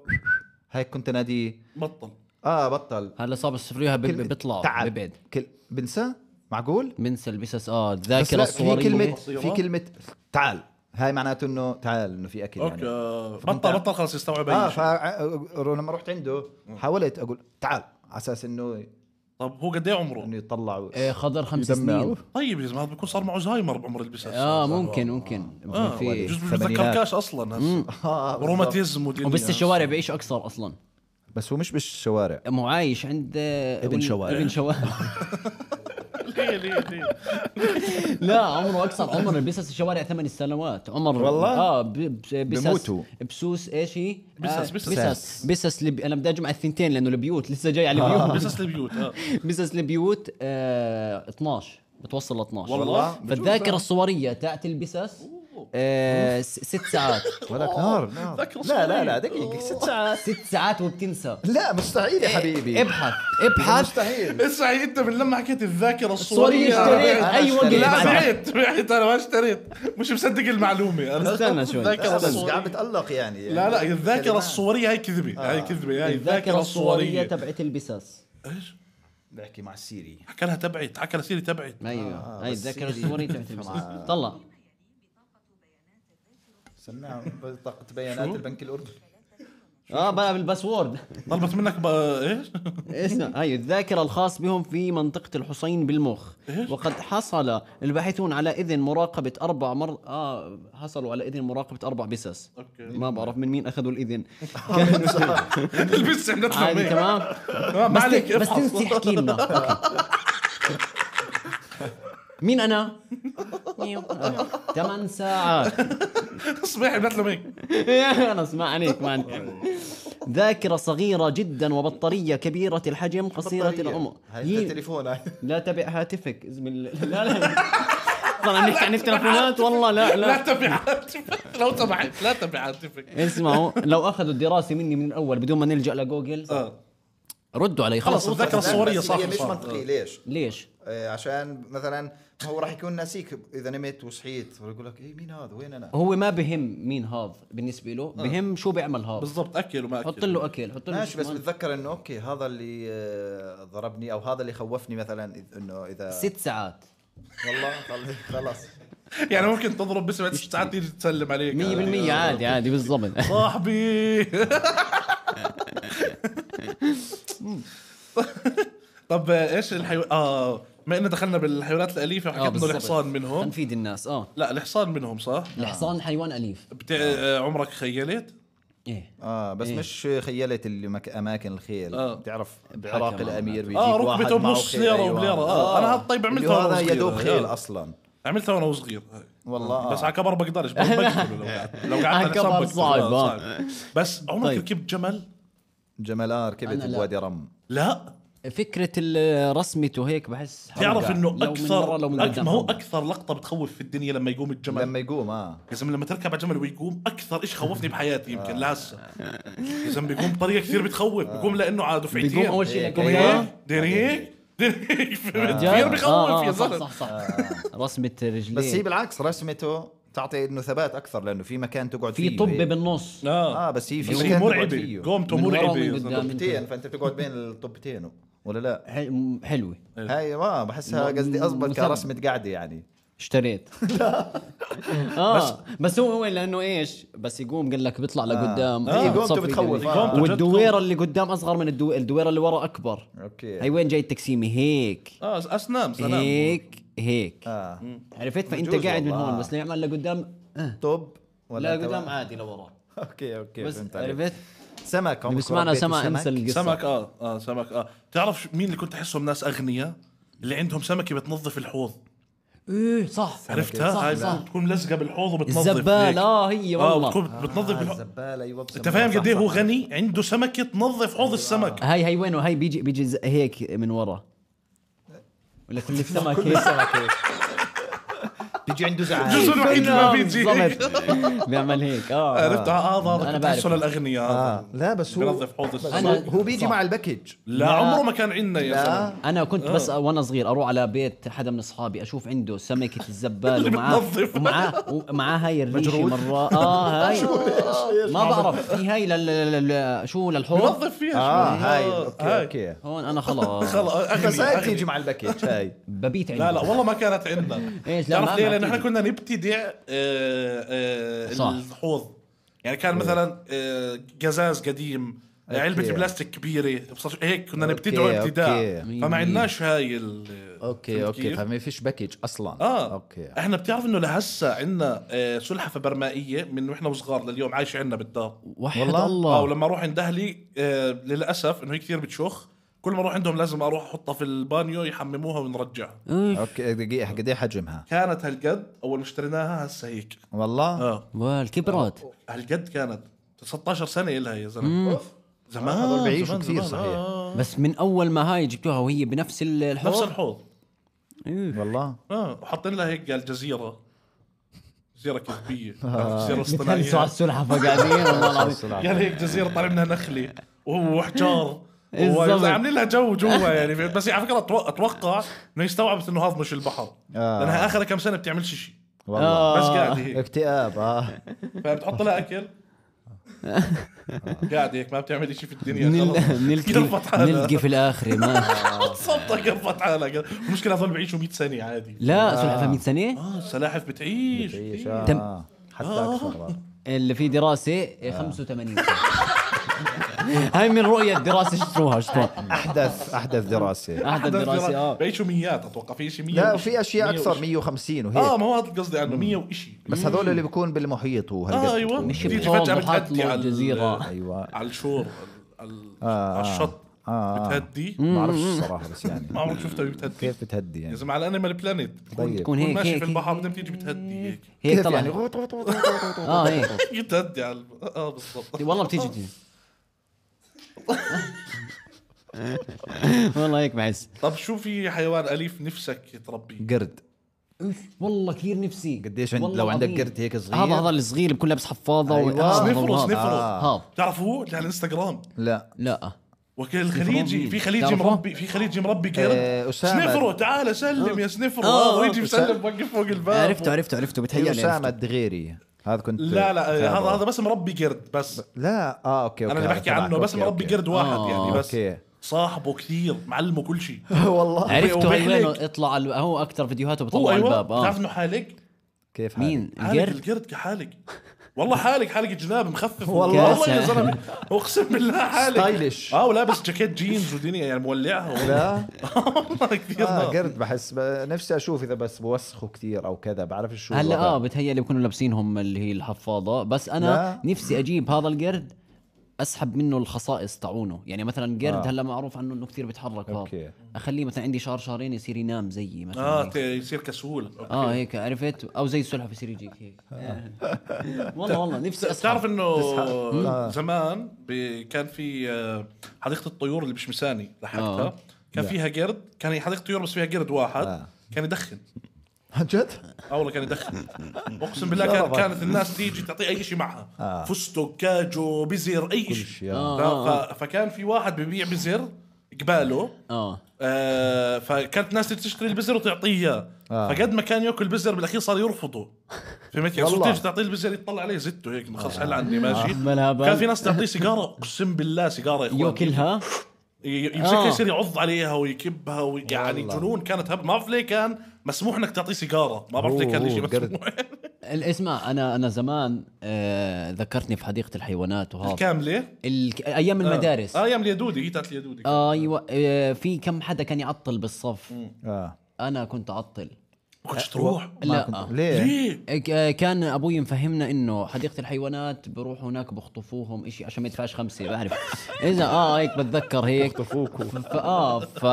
S3: هيك كنت ناديه
S1: بطل
S3: اه بطل
S2: هلا صار السفرية
S3: كل-
S2: بيطلع
S3: تعب.
S2: ببعد
S3: كل... بنسى معقول
S2: بنسى البسس اه
S3: بس
S2: الذاكرة
S3: لا في
S2: الصورية
S3: كلمة
S1: بصيرة.
S3: في كلمة تعال هاي معناته انه تعال انه في اكل
S1: اوكي
S3: يعني
S1: آه،
S3: فكنت
S1: بطل
S3: عم-
S1: بطل خلص يستوعب
S3: اه
S1: اي
S3: ف
S1: شيء
S3: لما رحت عنده حاولت اقول تعال على اساس انه
S1: طب هو قد ايه عمره؟
S3: انه يطلع و-
S2: آه، خضر خمس
S3: يدمع.
S2: سنين
S1: طيب يا زلمه هذا بيكون صار معه زهايمر بعمر البسس
S2: اه ممكن ممكن
S3: آه،
S1: اه
S2: في
S1: جزء مش
S3: ثمانينات.
S1: بتذكركاش اصلا هسه.
S3: آه، بالضبط.
S1: وروماتيزم ودنيا.
S3: آه.
S2: وبس الشوارع بيعيشوا اكثر اصلا
S3: بس هو مش بالشوارع
S2: مو عايش عند آه،
S3: ابن
S2: وال-
S3: شوارع.
S2: ابن شوارع
S1: ليه ليه ليه
S2: لا عمره اكثر عمر البسس الشوارع ثمان سنوات عمر
S3: والله؟
S2: اه ب- ب- بسس
S3: بموتوا.
S2: بسوس ايش هي؟
S1: بسس-
S2: آه،
S1: بسس.
S2: بسس بسس لب... انا بدي اجمع الثنتين لانه البيوت لسه جاي على البيوت
S1: بسس البيوت اه
S2: بسس البيوت آه 12 بتوصل ل 12
S1: والله؟
S2: فالذاكره الصوريه تاعت البسس آه س- ست ساعات
S3: ولك نار نار
S1: ذاكرة
S3: لا لا
S1: صغيرة.
S3: لا دقيقة ست ساعات
S2: ست ساعات وبتنسى
S3: لا مستحيل يا حبيبي
S2: ابحث ابحث
S3: مستحيل
S1: اسمع انت من لما حكيت الذاكره
S2: صورية
S1: الصوريه
S2: اشتريت
S1: بعت.
S3: أنا
S2: اي وقت
S3: اشتريت.
S1: لا
S2: بعد-
S1: بعت بعت انا ما اشتريت مش مصدق المعلومه انا
S2: استنى شوي.
S1: الذاكره
S3: بس قاعد
S1: الصوريه
S3: بتألق يعني يعني
S1: لا لا الذاكره
S3: كلمات.
S1: الصوريه هاي كذبه هاي كذبه هاي
S2: الذاكره الصوريه تبعت البسس
S1: ايش؟
S3: بحكي مع السيري
S1: حكى لها تبعت حكى لها سيري تبعت
S2: ايوه هاي
S3: بس
S2: الذاكره
S3: هي-
S2: الصوريه تبعت البسس طلع
S3: سمعوا بطاقة بيانات البنك الأردني
S2: اه بقى بالباسورد
S1: طلبت منك بقى ايش؟
S2: اسمع هاي الذاكرة الخاص بهم في منطقة الحصين بالمخ وقد حصل الباحثون على إذن مراقبة أربع مر آه حصلوا على إذن مراقبة أربع بسس
S1: أوكي.
S2: ما بعرف من مين أخذوا الإذن
S1: البس عملت
S2: عادي
S1: لهم
S2: تمام
S1: تمام ما
S2: بس
S1: عليك
S2: بس
S1: افحص.
S2: تنسي احكي لنا أوكي. مين أنا؟ ثمان ساعات
S1: صباحي عملت لهم هيك
S2: انا اسمع عليك ما عندي ذاكرة صغيرة جدا وبطارية كبيرة الحجم قصيرة
S3: بطارية.
S2: العمر
S3: هاي
S2: هي-
S3: التليفون هاي
S2: لا تبع هاتفك اسم ال... لا لا طبعا نحكي عن التلفونات والله لا
S1: لا
S2: لا
S1: تبع هاتفك لو تبعت لا طيب، تبع هاتفك
S2: اسمعوا لو اخذوا الدراسه مني من الاول بدون ما نلجا لجوجل
S1: اه
S2: ردوا علي خلص
S1: خلص الذاكره الصوريه
S3: بس هي
S1: صح
S3: مش منطقي ليش؟
S2: ليش؟
S3: آه، عشان مثلا هو راح يكون ناسيك اذا نمت وصحيت يقول لك ايه مين هذا وين انا؟
S2: هو ما بهم مين هاف بالنسبه له بهم شو بيعمل هاف
S1: آه. بالضبط اكل وما اكل
S2: حط له اكل حط له
S3: ماشي
S2: شو
S3: بس
S2: كمان.
S3: بتذكر انه اوكي هذا اللي آه، ضربني او هذا اللي خوفني مثلا إذ- انه اذا
S2: ست ساعات
S1: آه،
S3: والله خل- خلص
S1: يعني ممكن تضرب بس بعد ست ساعات تيجي تسلم عليك
S2: 100% عادي عادي بالضبط آه،
S1: صاحبي طب ايش الحيو اه ما ان دخلنا بالحيوانات الاليفه
S2: آه،
S1: وحكيت انه
S2: بالضبط.
S1: الحصان منهم آه.
S2: نفيد الناس اه
S1: لا الحصان منهم صح؟
S2: الحصان حيوان اليف
S1: بتاع آه، عمرك خيلت؟
S2: ايه
S3: اه بس
S2: إيه.
S3: مش خيلت اللي مك... اماكن الخيل
S1: آه.
S3: بتعرف بعراق
S2: معنا.
S3: الامير بيجيك
S1: اه
S3: واحد
S1: ركبته
S3: معه
S1: بنص
S3: خيل.
S1: ليره
S3: أيوة.
S1: وبليره اه انا هالطيب
S3: اللي
S1: عملتها
S3: هو
S1: وانا
S3: هذا يا
S1: صغير
S3: دوب خيل
S1: آه.
S3: اصلا
S1: عملتها وانا صغير آه.
S3: والله آه.
S1: بس على كبر بقدرش بقدر بقتله لو قعدت- لو قعدت
S2: على
S1: على حساب
S2: كبر
S1: بقتله.
S2: صعب،
S1: آه،
S2: آه.
S1: بس عمرك
S2: طيب.
S1: ركبت جمل؟
S3: جملار
S2: أنا
S3: كبت
S2: لا.
S3: بوادي رم
S1: لا
S2: فكره الرسمته هيك بحس
S1: تعرف
S2: حرقة.
S1: انه
S2: لو من
S1: اكثر
S2: برا لو من
S1: أك-
S2: قدام
S1: ما هو
S2: حرقة.
S1: اكثر لقطه بتخوف في الدنيا لما يقوم الجمل
S3: لما يقوم اه
S1: يا زلمه لما تركب على جمل ويقوم اكثر شيء خوفني بحياتي يمكن
S2: آه.
S1: لهسه يا زلمه بيقوم بطريقه كثير بتخوف بيقوم لانه على دفعتين
S2: بيقوم أول شي
S1: بيقوم
S2: لك-
S1: هيك
S2: أيوة.
S1: دير هيك دير هيك فهمت؟
S2: جد؟
S1: كثير بخوف
S2: آه، آه،
S1: يا
S2: صح
S1: زلمه
S2: صح صح آه، رسمة رجلين
S3: بس هي بالعكس رسمته تعطي انه ثبات اكثر لانه في مكان تقعد
S2: في
S3: فيه
S2: طبة
S3: هي-
S2: بالنص
S1: اه
S3: اه بس هي في
S1: بس
S3: مكان
S1: هي
S3: تقعد
S1: مرعبه
S3: فيه.
S1: قومته
S2: من ورا
S1: مرعبه
S2: ومن
S1: يا
S2: قدام.
S1: زلمة.
S3: طبتين فانت بتقعد بين الطبتين ولا لا
S2: حل- حلوة
S3: هاي ما بحسها
S2: م-
S3: قصدي اصبر
S2: مثبت.
S3: كرسمه قاعده يعني
S2: اشتريت اه بس آه. هو هو لانه ايش بس يقوم قال لك بيطلع لقدام
S3: هي قومته
S2: بتصفي
S3: بتخوف،
S2: قلبي.
S1: آه.
S2: والدويرة اللي قدام اصغر من الدو... الدويرة اللي ورا اكبر
S3: اوكي
S2: هي وين جاي التكسيمة هيك
S1: اه اسنان
S2: إيه.
S1: سلام
S2: هيك هيك
S3: اه
S2: عرفت فانت
S3: بجوز
S2: قاعد من
S3: والله.
S2: هون بس نعمل لقدام آه.
S3: طب
S2: لا
S3: تبع؟
S2: قدام عادي لورا
S3: اوكي اوكي
S2: بس
S3: فهمت عليك.
S2: عرفت
S3: سمك عمرك
S2: بس معنا
S3: ربيتوا
S2: سما انسى القصة
S1: سمك اه اه سمك اه تعرف شو- مين اللي كنت احسهم ناس اغنياء اللي عندهم سمكه بتنظف الحوض
S2: ايه صح
S1: عرفتها
S2: صح
S1: هاي
S2: صح
S1: بتكون ملزقه بالحوض وبتنظف هيك.
S2: الزبال اه هي
S1: اه
S2: والله آه،
S1: بتكون
S3: آه،
S1: بتنظف بالحوض
S3: الزباله ايوه
S1: انت فاهم قد ايه هو غني عنده سمكه تنظف
S2: آه.
S1: حوض السمك
S2: هاي هاي وين هاي بيجي بيجي ز- هيك من ورا ولا كل السمك
S3: كل
S2: هيك
S3: السمك هيك بيجي عنده
S1: الجزء
S3: زعل
S1: الوحيد اللي ما بيجي هيك
S2: بالضبط. بيعمل هيك اه
S1: عرفت اه اه هذا
S2: أنا
S1: كنت
S2: بعرف.
S1: احسه للاغنياء هذا.
S3: آه. لا بس هو
S1: بينظف حوض السمك
S2: أنا-
S3: هو بيجي
S2: صح.
S3: مع الباكج
S1: لا عمره ما كان عندنا يا زلمه
S2: انا كنت بس
S1: آه.
S2: وانا صغير اروح على بيت حدا من اصحابي اشوف عنده سمكه الزبال
S1: اللي
S2: ومعاه
S1: بتنظف.
S2: ومعاه ومعاه هاي الريشه
S3: مجروح.
S2: مره اه هاي ما بعرف في هاي لل- لل- لل- شو للحوض
S1: بنظف فيها
S3: اه
S2: آه،
S1: شوي.
S3: هاي اوكي اوكي
S2: هون انا خلاص
S1: خلص أغنياء،
S3: بس هاي
S1: أغنياء.
S3: بتيجي مع الباكج هاي
S2: ببيت عندي
S1: لا لا والله ما كانت عندنا
S2: إيش، لا، ما-
S1: تعرف ليه؟
S2: ما
S1: لان احنا
S2: بتيجي.
S1: كنا نبتدع آه، آه،
S2: صح. أيوه.
S1: الحوض يعني كان مثلا آه، قزاز قديم
S3: أوكي.
S1: علبة بلاستيك كبيرة بصر- هيك كنا
S3: أوكي،
S1: نبتدعه ابتداع
S3: أوكي.
S2: مين-
S1: فما عندناش هاي ال-
S3: اوكي
S1: فهمت
S3: اوكي
S1: كيف؟
S3: فما فيش باكج اصلا
S1: اه
S3: اوكي
S1: احنا بتعرف انه لهسه عندنا آه، سلحفه برمائيه من واحنا وصغار لليوم عايشه عندنا بالدار
S2: وحد
S3: والله؟
S1: اه
S2: الله
S1: ولما اروح عند اهلي آه، للاسف انه هي كثير بتشخ كل ما اروح عندهم لازم اروح احطها في البانيو يحمموها ونرجعها
S2: إيه.
S3: اوكي دقيقه قد ايه حجمها
S1: كانت هالقد اول ما اشتريناها هسه هيك
S3: والله
S2: آه.
S1: اه
S2: والكبرات
S1: هالقد كانت 16 سنه إلها يا زلمه زمان
S3: هذول بيعيشوا
S1: آه، زمان-
S3: كثير
S1: زمان،
S3: صحيح.
S1: آه.
S2: بس من اول ما هاي جبتوها وهي بنفس ال-
S1: نفس
S2: الحوض
S1: الحوض
S3: والله
S1: اه وحاطين لها هيك قال جزيره جزيره كذبيه
S3: آه.
S1: جزيره
S2: بتهلسوا على
S1: اصطناعيه
S2: السلحفه قاعدين والله العظيم
S1: قال هيك جزيره طالع منها نخله وحجار
S3: إيه،
S2: بالضبط.
S1: وعاملين لها جو جوا يعني فهمت؟ بس هي على فكره أتو- اتوقع انه هي استوعبت انه هذا مش البحر
S3: آه.
S1: لانها اخر كم سنه بتعملش شيء
S3: والله
S1: بس قاعده هيك
S3: اكتئاب اه
S1: فبتحط لها اكل
S3: آه.
S1: قاعد هيك ما بتعمل شيء في الدنيا
S2: نل-
S1: خلص.
S2: نلقي
S1: قرفت حالها
S2: نلقي في الاخره ما
S1: صبتها قرفت حالها المشكله هذول بيعيشوا 100 سنه عادي
S2: لا سلحفه 100 سنه
S1: اه السلاحف بتعيش
S3: تعيش
S1: بتعيش.
S3: اه حتى اكثر آه.
S2: اللي في دراسه
S1: آه.
S2: 85 سنه هاي من رؤيه الدراسه اشتروها اشتروها
S3: احدث احدث
S1: آه.
S3: دراسه
S2: احدى الدراسه اه
S1: بيعيشوا ميات اتوقع في شيء 100
S3: لا
S1: وإشي.
S3: وفي اشياء
S1: 100
S3: اكثر
S1: وإشي.
S3: 150
S1: اه
S3: وهيك
S1: ما هو هذا قصدي عنه 100 وشيء
S3: بس هذول اللي بيكون بالمحيط وهالقد
S1: اه ايوه
S3: بيكون.
S2: مش
S1: بتيجي
S2: بحوض
S1: فجاه
S2: وحاط
S1: بتهدي
S2: له
S1: على
S2: جزيرة.
S3: أيوة.
S1: على الشور على- على
S3: آه،
S1: على الشط
S3: آه، آه.
S1: بتهدي
S3: ما بعرفش الصراحه بس
S1: ما
S3: يعني
S1: عمرك شفتها وهي بتهدي
S3: كيف بتهدي
S1: آه. يا
S3: يعني
S1: زلمه على انيمال بلانيت
S3: طيب
S2: تكون
S1: تكون
S2: هيك
S1: ماشي في
S2: هيك
S1: البحر بعدين بتيجي بتهدي هيك
S2: هيك
S3: كيف
S2: طلع
S3: يعني غوط غوط غوط غوط غوط.
S2: اه هيك
S1: بتهدي على الب- اه بالضبط
S2: إيه، والله بتيجي بتيجي والله هيك بحس
S1: طب شو في حيوان اليف نفسك تربيه؟
S3: قرد
S2: والله كثير نفسي
S3: قديش عند
S2: والله
S3: لو عندك
S2: العظيم.
S3: قرد هيك صغير
S2: هذا هذا الصغير بكون لابس حفاضه
S3: أيوة.
S2: وهذا
S1: نفرس
S2: وهذا.
S1: نفرس
S2: آه.
S3: آه.
S2: هذا
S1: بتعرف هو اللي على الانستغرام
S3: لا
S2: لا
S1: وكل الخليجي
S2: مين؟
S1: في خليجي
S2: تعرفه؟
S1: مربي في خليجي مربي
S3: آه،
S1: قرد
S3: أسامة.
S1: سنفرو تعال سلم يا سنفرو
S2: آه،
S1: آه،
S2: آه،
S1: ويجي
S3: أسامة.
S1: يسلم وقف فوق الباب
S2: عرفته عرفته عرفته
S3: هي
S2: بتهيألي
S3: اسامه
S2: عرفته.
S3: الدغيري هذا كنت
S1: لا لا آه،
S3: تابعه.
S1: هذا هذا بس مربي قرد بس
S3: لا اه اوكي
S1: انا
S3: اوكي
S1: اللي
S3: هذا
S1: بحكي
S3: تبعك.
S1: عنه بس
S3: أوكي،
S1: مربي
S3: أوكي.
S1: قرد واحد يعني بس
S3: أوكي.
S1: صاحبه كثير معلمه كل شيء
S3: والله
S2: عرفته هي
S1: وبيحلق.
S2: وينه اطلع على- هو اكثر فيديوهاته
S1: هو
S2: بطلع على
S1: ايوه
S2: الباب
S1: بتعرف
S2: اه
S1: انه حالق
S3: أيوة. كيف حالك؟
S2: مين
S1: حالق
S2: القرد
S1: القرد حالق والله حالق حالق جناب مخفف
S3: والله.
S1: والله يا زلمه اقسم بالله حالق
S3: ستايلش.
S1: اه ولابس جاكيت جينز ودنيا يعني مولعها والله.
S3: لا
S1: والله كثير
S3: آه
S1: نار.
S3: قرد بحس ب- نفسي اشوف اذا بس بوسخه كثير او كذا بعرف شو
S2: هلا
S3: الوضع.
S2: اه بتهيألي بكونوا لابسينهم اللي هي الحفاضه بس انا
S3: لا.
S2: نفسي اجيب هذا القرد اسحب منه الخصائص تاعونه يعني مثلا قرد
S3: آه.
S2: هلا معروف عنه انه كثير بيتحرك
S3: أوكي.
S2: هذا اخليه مثلا عندي شهر شهرين يصير ينام زيي مثلا
S1: اه
S2: آه
S1: ت- يصير كسول أوكي.
S2: اه هيك عرفت او زي السلحفه يصير يجيك هيك والله والله نفسي اسحب
S1: تعرف انه
S3: آه.
S1: زمان ب- كان في آه، حديقه الطيور اللي بشمساني لحقتها
S2: آه.
S1: كان
S3: لا.
S1: فيها قرد كان حديقه طيور بس فيها قرد واحد
S3: آه.
S1: كان يدخن
S3: عن جد؟
S1: اه والله كان يدخن اقسم بالله كان
S3: ضربك.
S1: كانت الناس تيجي تعطيه اي شيء معها
S3: آه.
S1: فستق كاجو بزر اي
S3: شيء،
S1: شيء
S2: آه.
S1: ف- فكان في واحد ببيع بزر قباله
S2: اه
S1: آه فكانت الناس تيجي تشتري البزر وتعطيه اياه
S3: آه.
S1: فقد ما كان ياكل بزر بالاخير صار يرفضه فهمت يعني صرت
S3: والله. آه.
S1: تيجي تعطيه البزر يطلع عليه زته هيك خلص حل عني ماشي
S2: ملها بال.
S1: كان في ناس تعطيه سيجاره اقسم بالله سيجاره يا اخوان
S2: ياكلها
S1: ي-
S2: آه.
S1: يمسكها يصير يعض عليها ويكبها ويعني
S3: والله.
S1: جنون كانت هب ما بعرف ليه كان مسموح انك تعطيه سيجاره ما بعرف ليه كان
S3: أوه،
S1: الشيء
S3: قرد.
S1: مسموح
S2: اسمع انا انا زمان آه ذكرتني في حديقه الحيوانات
S3: آه.
S2: وهذا
S1: كامله
S2: ال... ايام المدارس
S1: اه ايام اليدودي هي تاعت اليدودي
S2: ايوه آه في كم حدا كان يعطل بالصف
S3: اه
S2: انا كنت اعطل
S1: ما كنتش تروح
S3: ما
S2: لا.
S3: كنت- ليه؟
S1: ليه؟
S2: آه، كان ابوي مفهمنا انه حديقه الحيوانات بروح هناك بخطفوهم إشي عشان ما يدفعش آه، خمسه بعرف اذا اه هيك بتذكر هيك
S3: اخطفوك
S2: ف- اه ف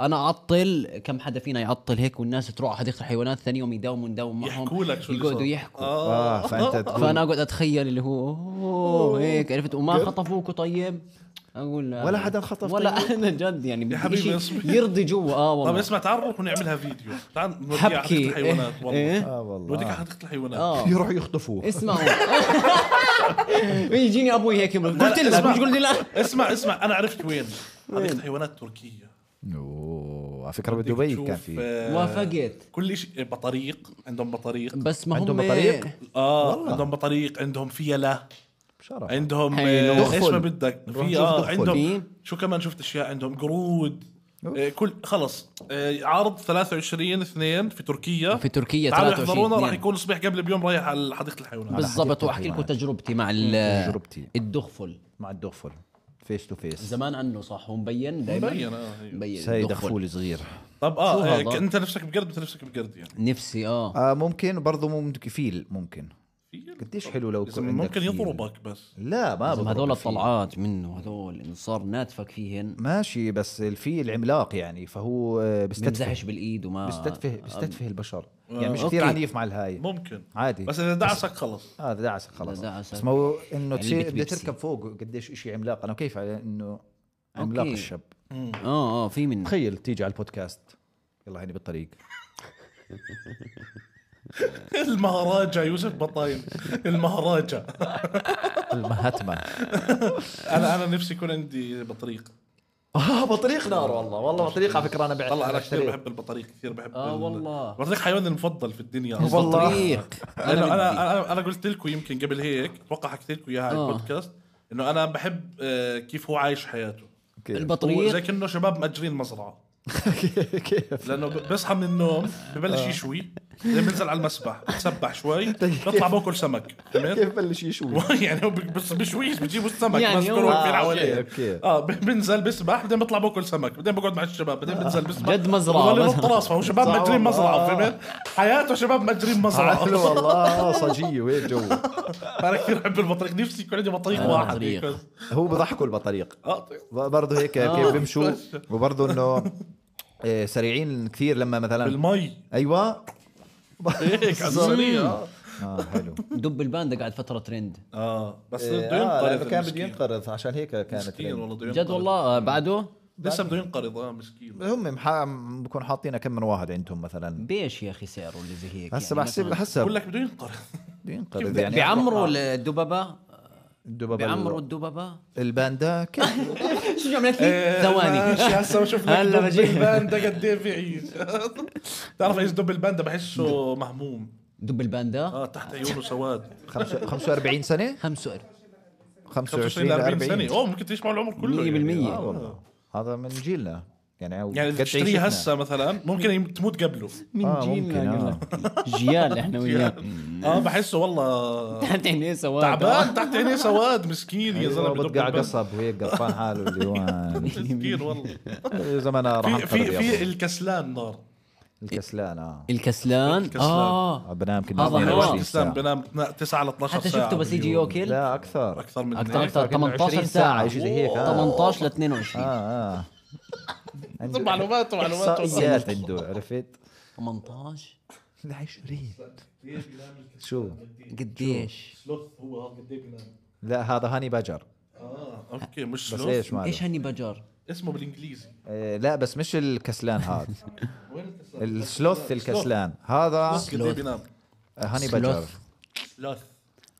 S2: انا اعطل كم حدا فينا يعطل هيك والناس تروح حديقه الحيوانات ثاني يوم يداوموا نداوم معهم
S1: يحكوا لك شو اللي
S2: يقعدوا
S1: صار. آه.
S2: يحكوا
S3: اه فانت تقول
S2: فانا اقعد اتخيل اللي هو أوه هيك عرفت وما خطفوك طيب اقول لا.
S3: ولا حدا خطف طيب.
S2: ولا انا جد يعني بدي
S1: حبيبي
S2: شيء
S1: اصبر.
S2: يرضي جوا اه
S1: طب
S2: والله
S1: طيب، اسمع تعال نروح ونعملها فيديو تعال نوديها
S2: حبكي.
S1: على حديقه الحيوانات
S2: إيه.
S1: والله
S2: إيه.
S3: اه والله
S1: نوديك على حديقه الحيوانات
S2: اه
S3: يروح يخطفوه
S2: اسمعوا يجيني ابوي هيك
S1: لا،
S2: قلت لك
S1: اسمع.
S2: مش قلت لك
S1: اسمع اسمع انا عرفت وين حديقه الحيوانات تركيا
S3: اوه على فكره بدبي كان في
S1: آه،
S2: وافقت
S1: كل شيء بطريق عندهم بطريق
S2: بس ما هم
S3: عندهم بطريق؟
S1: اه
S3: والله.
S1: عندهم بطريق عندهم فيله
S3: بشرف
S1: عندهم
S2: حلو.
S1: آه،
S3: دخل.
S1: ايش ما بدك
S3: نروح
S1: في
S3: نشوف
S1: آه
S3: دخل.
S2: في؟
S1: عندهم شو كمان شفت اشياء عندهم قرود
S3: أوف.
S1: آه، كل خلص آه، عرض 23 2 في تركيا
S2: في تركيا
S1: تعالوا
S2: 23
S1: احضرونا راح
S2: اثنين.
S1: يكون الصبح قبل بيوم رايح على حديقه الحيوانات
S2: بالضبط
S3: حديقة
S2: واحكي لكم
S3: الحيوانات.
S2: تجربتي مع ال-
S3: تجربتي.
S2: الدخفل
S3: مع الدغفل فيس تو فيس
S2: زمان عنه صح هو مبين دائما
S1: مبين آه، هي.
S2: مبين
S3: سيد
S2: الدغفل.
S3: دغفول صغير
S1: طب
S2: شو
S1: اه آه،
S2: هذا؟
S1: ك- انت نفسك بقرد انت نفسك بقرد يعني
S2: نفسي اه
S3: آه ممكن برضه ممكن فيل ممكن
S1: في-
S3: قديش حلو لو
S1: إذا
S3: يكون عندك
S1: ممكن
S3: فيل.
S1: يضربك بس
S3: لا ما
S2: لازم
S3: بضرب
S2: هذول
S3: الفيل.
S2: الطلعات منه هذول إن صار ناتفك فيهن
S3: ماشي بس الفيل عملاق يعني فهو آه، بيستدفه
S2: بمزحش بالايد وما
S3: بيستدفه بيستدفه البشر يعني مش
S2: أوكي.
S3: كثير عنيف مع الهاي
S1: ممكن
S3: عادي
S1: بس اذا دعسك خلص
S3: هذا آه دعسك خلاص
S2: إذا دعسك.
S3: بس ما هو انه تصير بدي
S2: بيبسي.
S3: تركب فوق قديش إشي عملاق انا كيف على انه عملاق
S2: أوكي.
S3: الشاب
S2: اه اه في منه
S3: تخيل تيجي على البودكاست يلا هني بالطريق
S1: المهراجة يوسف بطاين المهراجة
S3: المهاتما
S1: انا انا نفسي يكون عندي بطريق
S3: اه بطريق نار والله والله بطريق على فكره انا بعت
S1: طلع انا كثير بحب البطريق كثير بحب
S2: آه،
S1: ال-
S2: والله.
S1: البطريق حيواني المفضل في الدنيا أصلاً.
S3: والله.
S2: البطريق
S1: لأنه
S2: انا,
S1: انا
S2: بدي.
S1: انا انا قلت لكم يمكن قبل هيك اتوقع حكيت لكم اياها على
S2: آه.
S1: البودكاست انه انا بحب آه، كيف هو عايش حياته هو زي
S2: البطريق
S1: كانه شباب مأجرين مزرعه
S3: كيف آه.
S1: لانه ب- بيصحى من النوم ببلش يشوي بعدين بينزل على المسبح بتسبح شوي بيطلع باكل سمك فهمت؟
S3: كيف بلش يشوي
S1: يعني هو بي- بس بشويش بجيبوا السمك
S2: يعني
S1: بس
S2: هو-
S1: بيروح
S2: آه،
S1: في حواليه
S3: اوكي اوكي
S1: اه ب- بنزل بسبح بعدين بطلع باكل سمك بعدين بقعد مع الشباب بعدين بنزل بسبح
S2: جد مزرعة.
S1: بضل ينط راسه هو شباب
S3: صح
S1: مجرين
S3: والله. آه.
S1: مزرعه فهمت؟ حياته شباب مجرين مزرعه
S3: حلو والله صجيه وهيك جو
S1: انا كثير احب البطريق نفسي يكون عندي بطريق
S2: أنا
S1: واحد
S2: آه،
S1: هيك
S2: بطريق.
S1: بس.
S3: هو بضحكوا البطريق
S1: اه طيب.
S3: برضه هيك كيف بيمشوا وبرضه انه آه، سريعين كثير لما مثلا
S1: بالمي
S3: ايوه
S1: هيك على السريع آه.
S3: اه حلو
S2: دب الباندا قاعد فتره ترند
S1: اه بس بده
S3: آه لأنه
S1: ينقرض
S3: كان بده
S1: المسكين
S3: ينقرض عشان هيك كانت
S1: مسكين
S3: لين.
S1: والله بده
S2: جد
S1: ينقرض.
S2: والله آه، بعده
S1: لسه بده ينقرض اه مسكين
S3: هم محا- بكون حاطين كم من واحد عندهم مثلا
S2: بيش يا اخي سعره اللي زي هيك
S3: هسه
S2: يعني
S3: بحسب
S2: مثلاً.
S1: بقول
S3: حسب
S1: لك بده ينقرض
S3: بده ينقرض
S1: كيف
S3: يعني
S2: بيعمروا الدببه
S3: الدببة
S2: بيعمروا الدببه
S3: الباندا كيف
S2: شو جملت لي؟ إيه،
S3: إيه،
S2: ثواني
S1: ماشي هسه بشوف لك
S2: هلا
S1: دب
S2: بجي.
S1: الباندا قد ايه بيعيش بتعرف ايش دب الباندا بحسه مهموم
S2: دب الباندا
S1: اه تحت عيونه سواد
S3: خمسة- 45
S2: 45
S3: سنه 25
S1: 25
S3: ل
S1: ل 40 سنه
S3: 40
S1: اوه ممكن تعيش معه العمر كله
S2: 100%
S1: يعني,
S3: آه
S1: آه.
S3: والله. هذا من جيلنا يعني
S1: يعني اذا تشتريه هسه مثلا ممكن يم- تموت قبله
S2: من
S3: آه، ممكن،
S2: جيلنا جيال احنا وياه
S1: اه بحسه والله
S2: تحت عينيه إيه سواد
S1: تعبان تحت عينيه سواد مسكين
S2: أيوة،
S1: يا زلمه بدب
S3: بتقع
S1: الباندا.
S3: أيوة، قصب وهيك قرفان حاله اللي وين
S1: مسكين والله
S3: زمانها راح
S1: في
S3: انقرض
S1: في في
S3: في
S1: الكسلان نار
S3: الكسلان اه
S2: الكسلان
S1: الكسلان.
S2: اه
S3: بنام كنا
S2: هذا
S1: يعني
S2: حرام.
S1: واحد
S3: 22
S1: الكسلان
S3: ساعة.
S1: بنام 9 ل 12
S2: حتى
S1: ساعة
S2: شفته بس يجي
S1: باليوم.
S2: يوكل
S3: لا اكثر
S1: اكثر من
S2: اكثر
S1: هيك.
S2: اكثر
S3: كأنه
S2: 18
S3: 20
S2: ساعه
S3: شيء زي هيك اه
S2: 18 ل 22
S3: اه اه عنده
S1: معلومات ومعلومات
S3: احصائيات عنده عرفت
S2: 18
S3: ل 20 شو
S2: قديش
S1: سلوث هو هذا قد ايه بينام
S3: لا هذا هاني بجر
S1: اه اوكي مش
S3: بس
S1: سلوث
S3: ايش ماله
S2: ايش هني بجر
S1: اسمه بالانجليزي
S3: آه، لا بس مش الكسلان هذا
S1: وين الكسلان؟
S3: السلوث الكسلان هذا
S1: قد ايه بينام
S3: هاني بجر
S2: سلوث
S1: سلوث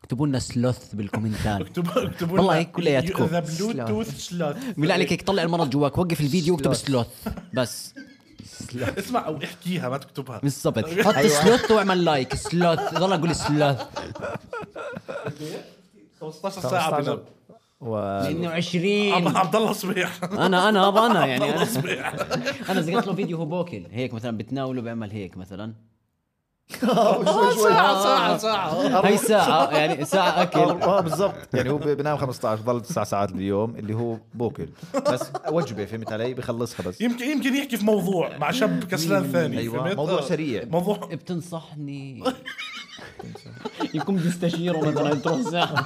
S2: اكتبوا لنا سلوث بالكومنتات
S1: اكتبوا اكتبوا
S2: والله
S1: لنا
S2: هيك كلياتكم.
S1: ذا بلوتوث سلوث
S2: بالله عليك هيك طلع المرض جواك وقف الفيديو واكتب سلوث بس
S1: اسمع او احكيها ما تكتبها
S2: بالضبط
S3: أيوة.
S2: حط سلوث واعمل لايك سلوث ضل اقول سلوث
S1: 15 ساعة
S3: 15
S1: بينام
S3: و
S2: 22
S1: عبد- عبد الله صبيح
S2: انا انا ابا انا
S1: عبد
S2: يعني
S1: الله
S2: انا
S1: صبيح
S2: انا زقت له فيديو هو بوكل هيك مثلا بتناوله بيعمل هيك مثلا
S1: ساعة ساعة ساعة
S2: هاي ساعه يعني ساعه اكل
S3: اه بالضبط يعني هو بينام 15 ضل تسع ساعات باليوم اللي هو بوكل بس وجبه فهمت علي بخلصها بس
S1: يمكن يمكن يحكي في موضوع مع شاب كسلان ثاني
S3: ايوه
S1: فهمت؟
S3: موضوع
S1: آه.
S3: سريع
S1: موضوع
S2: بتنصحني يكون بيستشيره مثلا تروح ساعه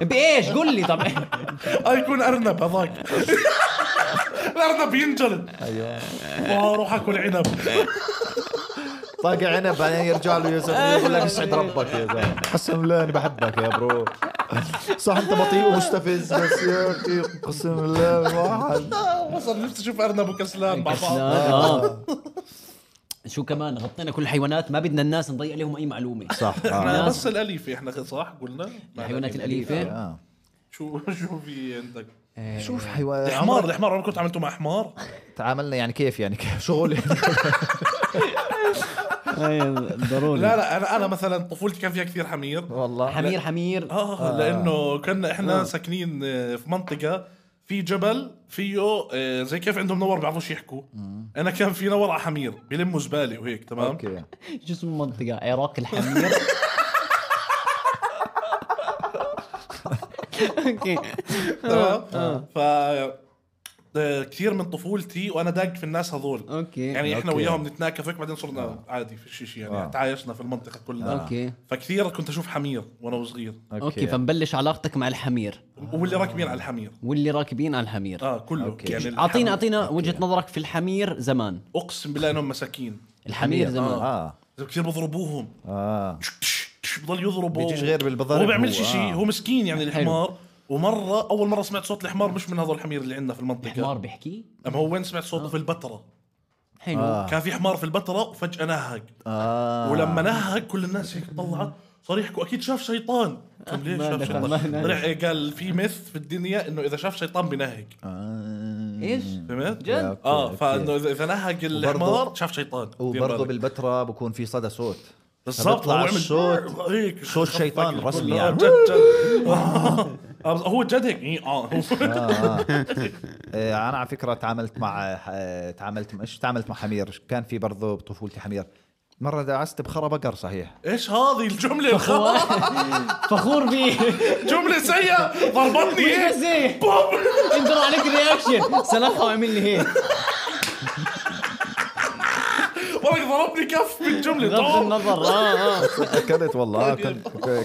S2: بايش قول لي طب
S1: آه، يكون ارنب هذاك الارنب ينجلد
S3: ايوه
S1: واروح اكل عنب
S3: طاقع عنب بعدين يرجع له يوسف يقول لك اسعد ربك يا زلمه قسم بالله اني بحبك يا برو صح انت بطيء ومستفز بس يا اخي قسم بالله الواحد
S1: آه، وصل نفسي اشوف ارنب وكسلان مع بعض
S2: آه. شو كمان غطينا كل الحيوانات ما بدنا الناس نضيع لهم اي معلومه
S3: صح
S1: احنا
S3: آه.
S1: بس الاليفه احنا صح قلنا
S2: الحيوانات الاليفه
S3: آه.
S1: شو شو في عندك
S3: شوف حيوان
S1: الحمار الحمار عمركم تعاملتوا مع حمار
S3: تعاملنا يعني كيف يعني كيف شغل يعني
S2: ضروري
S1: لا لا انا انا مثلا طفولتي كان فيها كثير حمير
S3: والله
S2: حمير حمير
S1: اه
S3: آه.
S1: لانه كنا احنا ساكنين آه، في منطقه في جبل فيه آه، زي كيف عندهم نور بيعرفوش يحكوا انا كان في نور على حمير بيلموا زباله وهيك تمام
S3: اوكي
S2: شو اسم المنطقه عراق الحمير اوكي
S1: تمام ف آه، كثير من طفولتي وانا داق في الناس هذول
S2: اوكي
S1: يعني احنا
S3: أوكي.
S1: وياهم نتناكف هيك بعدين صرنا عادي في شيء شيء
S3: آه.
S1: يعني تعايشنا في المنطقه كلها
S2: اوكي
S1: فكثير كنت اشوف حمير وانا صغير
S2: اوكي فنبلش علاقتك مع الحمير
S1: واللي راكبين على الحمير
S2: واللي راكبين على الحمير
S1: اه كله
S3: أوكي.
S1: يعني
S2: اعطينا
S1: الحمير-
S2: اعطينا وجهه نظرك في الحمير زمان
S1: اقسم بالله انهم مساكين
S2: الحمير زمان
S3: اه
S1: كثير بضربوهم
S3: اه
S1: تش- تش- تش- بضل يضربه
S3: بيجيش غير بالبضرب
S1: هو بيعملش
S3: هو،
S1: شيء
S3: آه.
S1: هو مسكين يعني الحمار ومره اول مره سمعت صوت الحمار مش من هذول الحمير اللي عندنا في المنطقه
S2: حمار بيحكي آه.
S1: اما هو وين سمعت صوته في البتراء
S2: حلو
S3: آه.
S1: كان في حمار في البتراء وفجاه نهق
S3: اه
S1: ولما نهق كل الناس هيك طلعت صار يحكوا اكيد شاف شيطان قلت ليش
S2: ما
S1: شاف
S2: دخل، ما
S1: شيطان
S2: نهق.
S1: طلع إيه، قال في مث في الدنيا انه اذا شاف شيطان بنهق
S3: آه.
S2: ايش
S1: فهمت؟
S2: جد؟
S3: أوكي،
S1: اه
S3: أوكي.
S1: فانه اذا إذا نهق الحمار شاف شيطان دير
S3: وبرضه
S1: بالك.
S3: بالبتراء بكون في صدى صوت
S1: بالضبط
S3: فبيطلع
S1: هو عمل
S3: الصوت-
S1: هيك
S3: صوت
S1: خفق
S3: شيطان
S1: الكل.
S3: رسمي
S1: آه،
S3: يعني.
S1: جد جد آه، بس هو جد هيك إيه، اه هو
S3: آه، انا على فكره تعاملت مع آه، تعاملت مش تعاملت مع حمير كان في برضه بطفولتي حمير مره دعست بخرى بقر صحيح
S1: ايش هذه الجمله الخطا
S2: فخور بيه
S1: جمله سيئه ضربتني
S2: وين
S1: هيك
S2: زين انظر عليك رياكشن سلخها وعمل لي هيك
S1: والله ضربني كف بالجمله
S2: بغض
S1: طب.
S2: النظر اه اه
S3: تذكرت والله آه، كان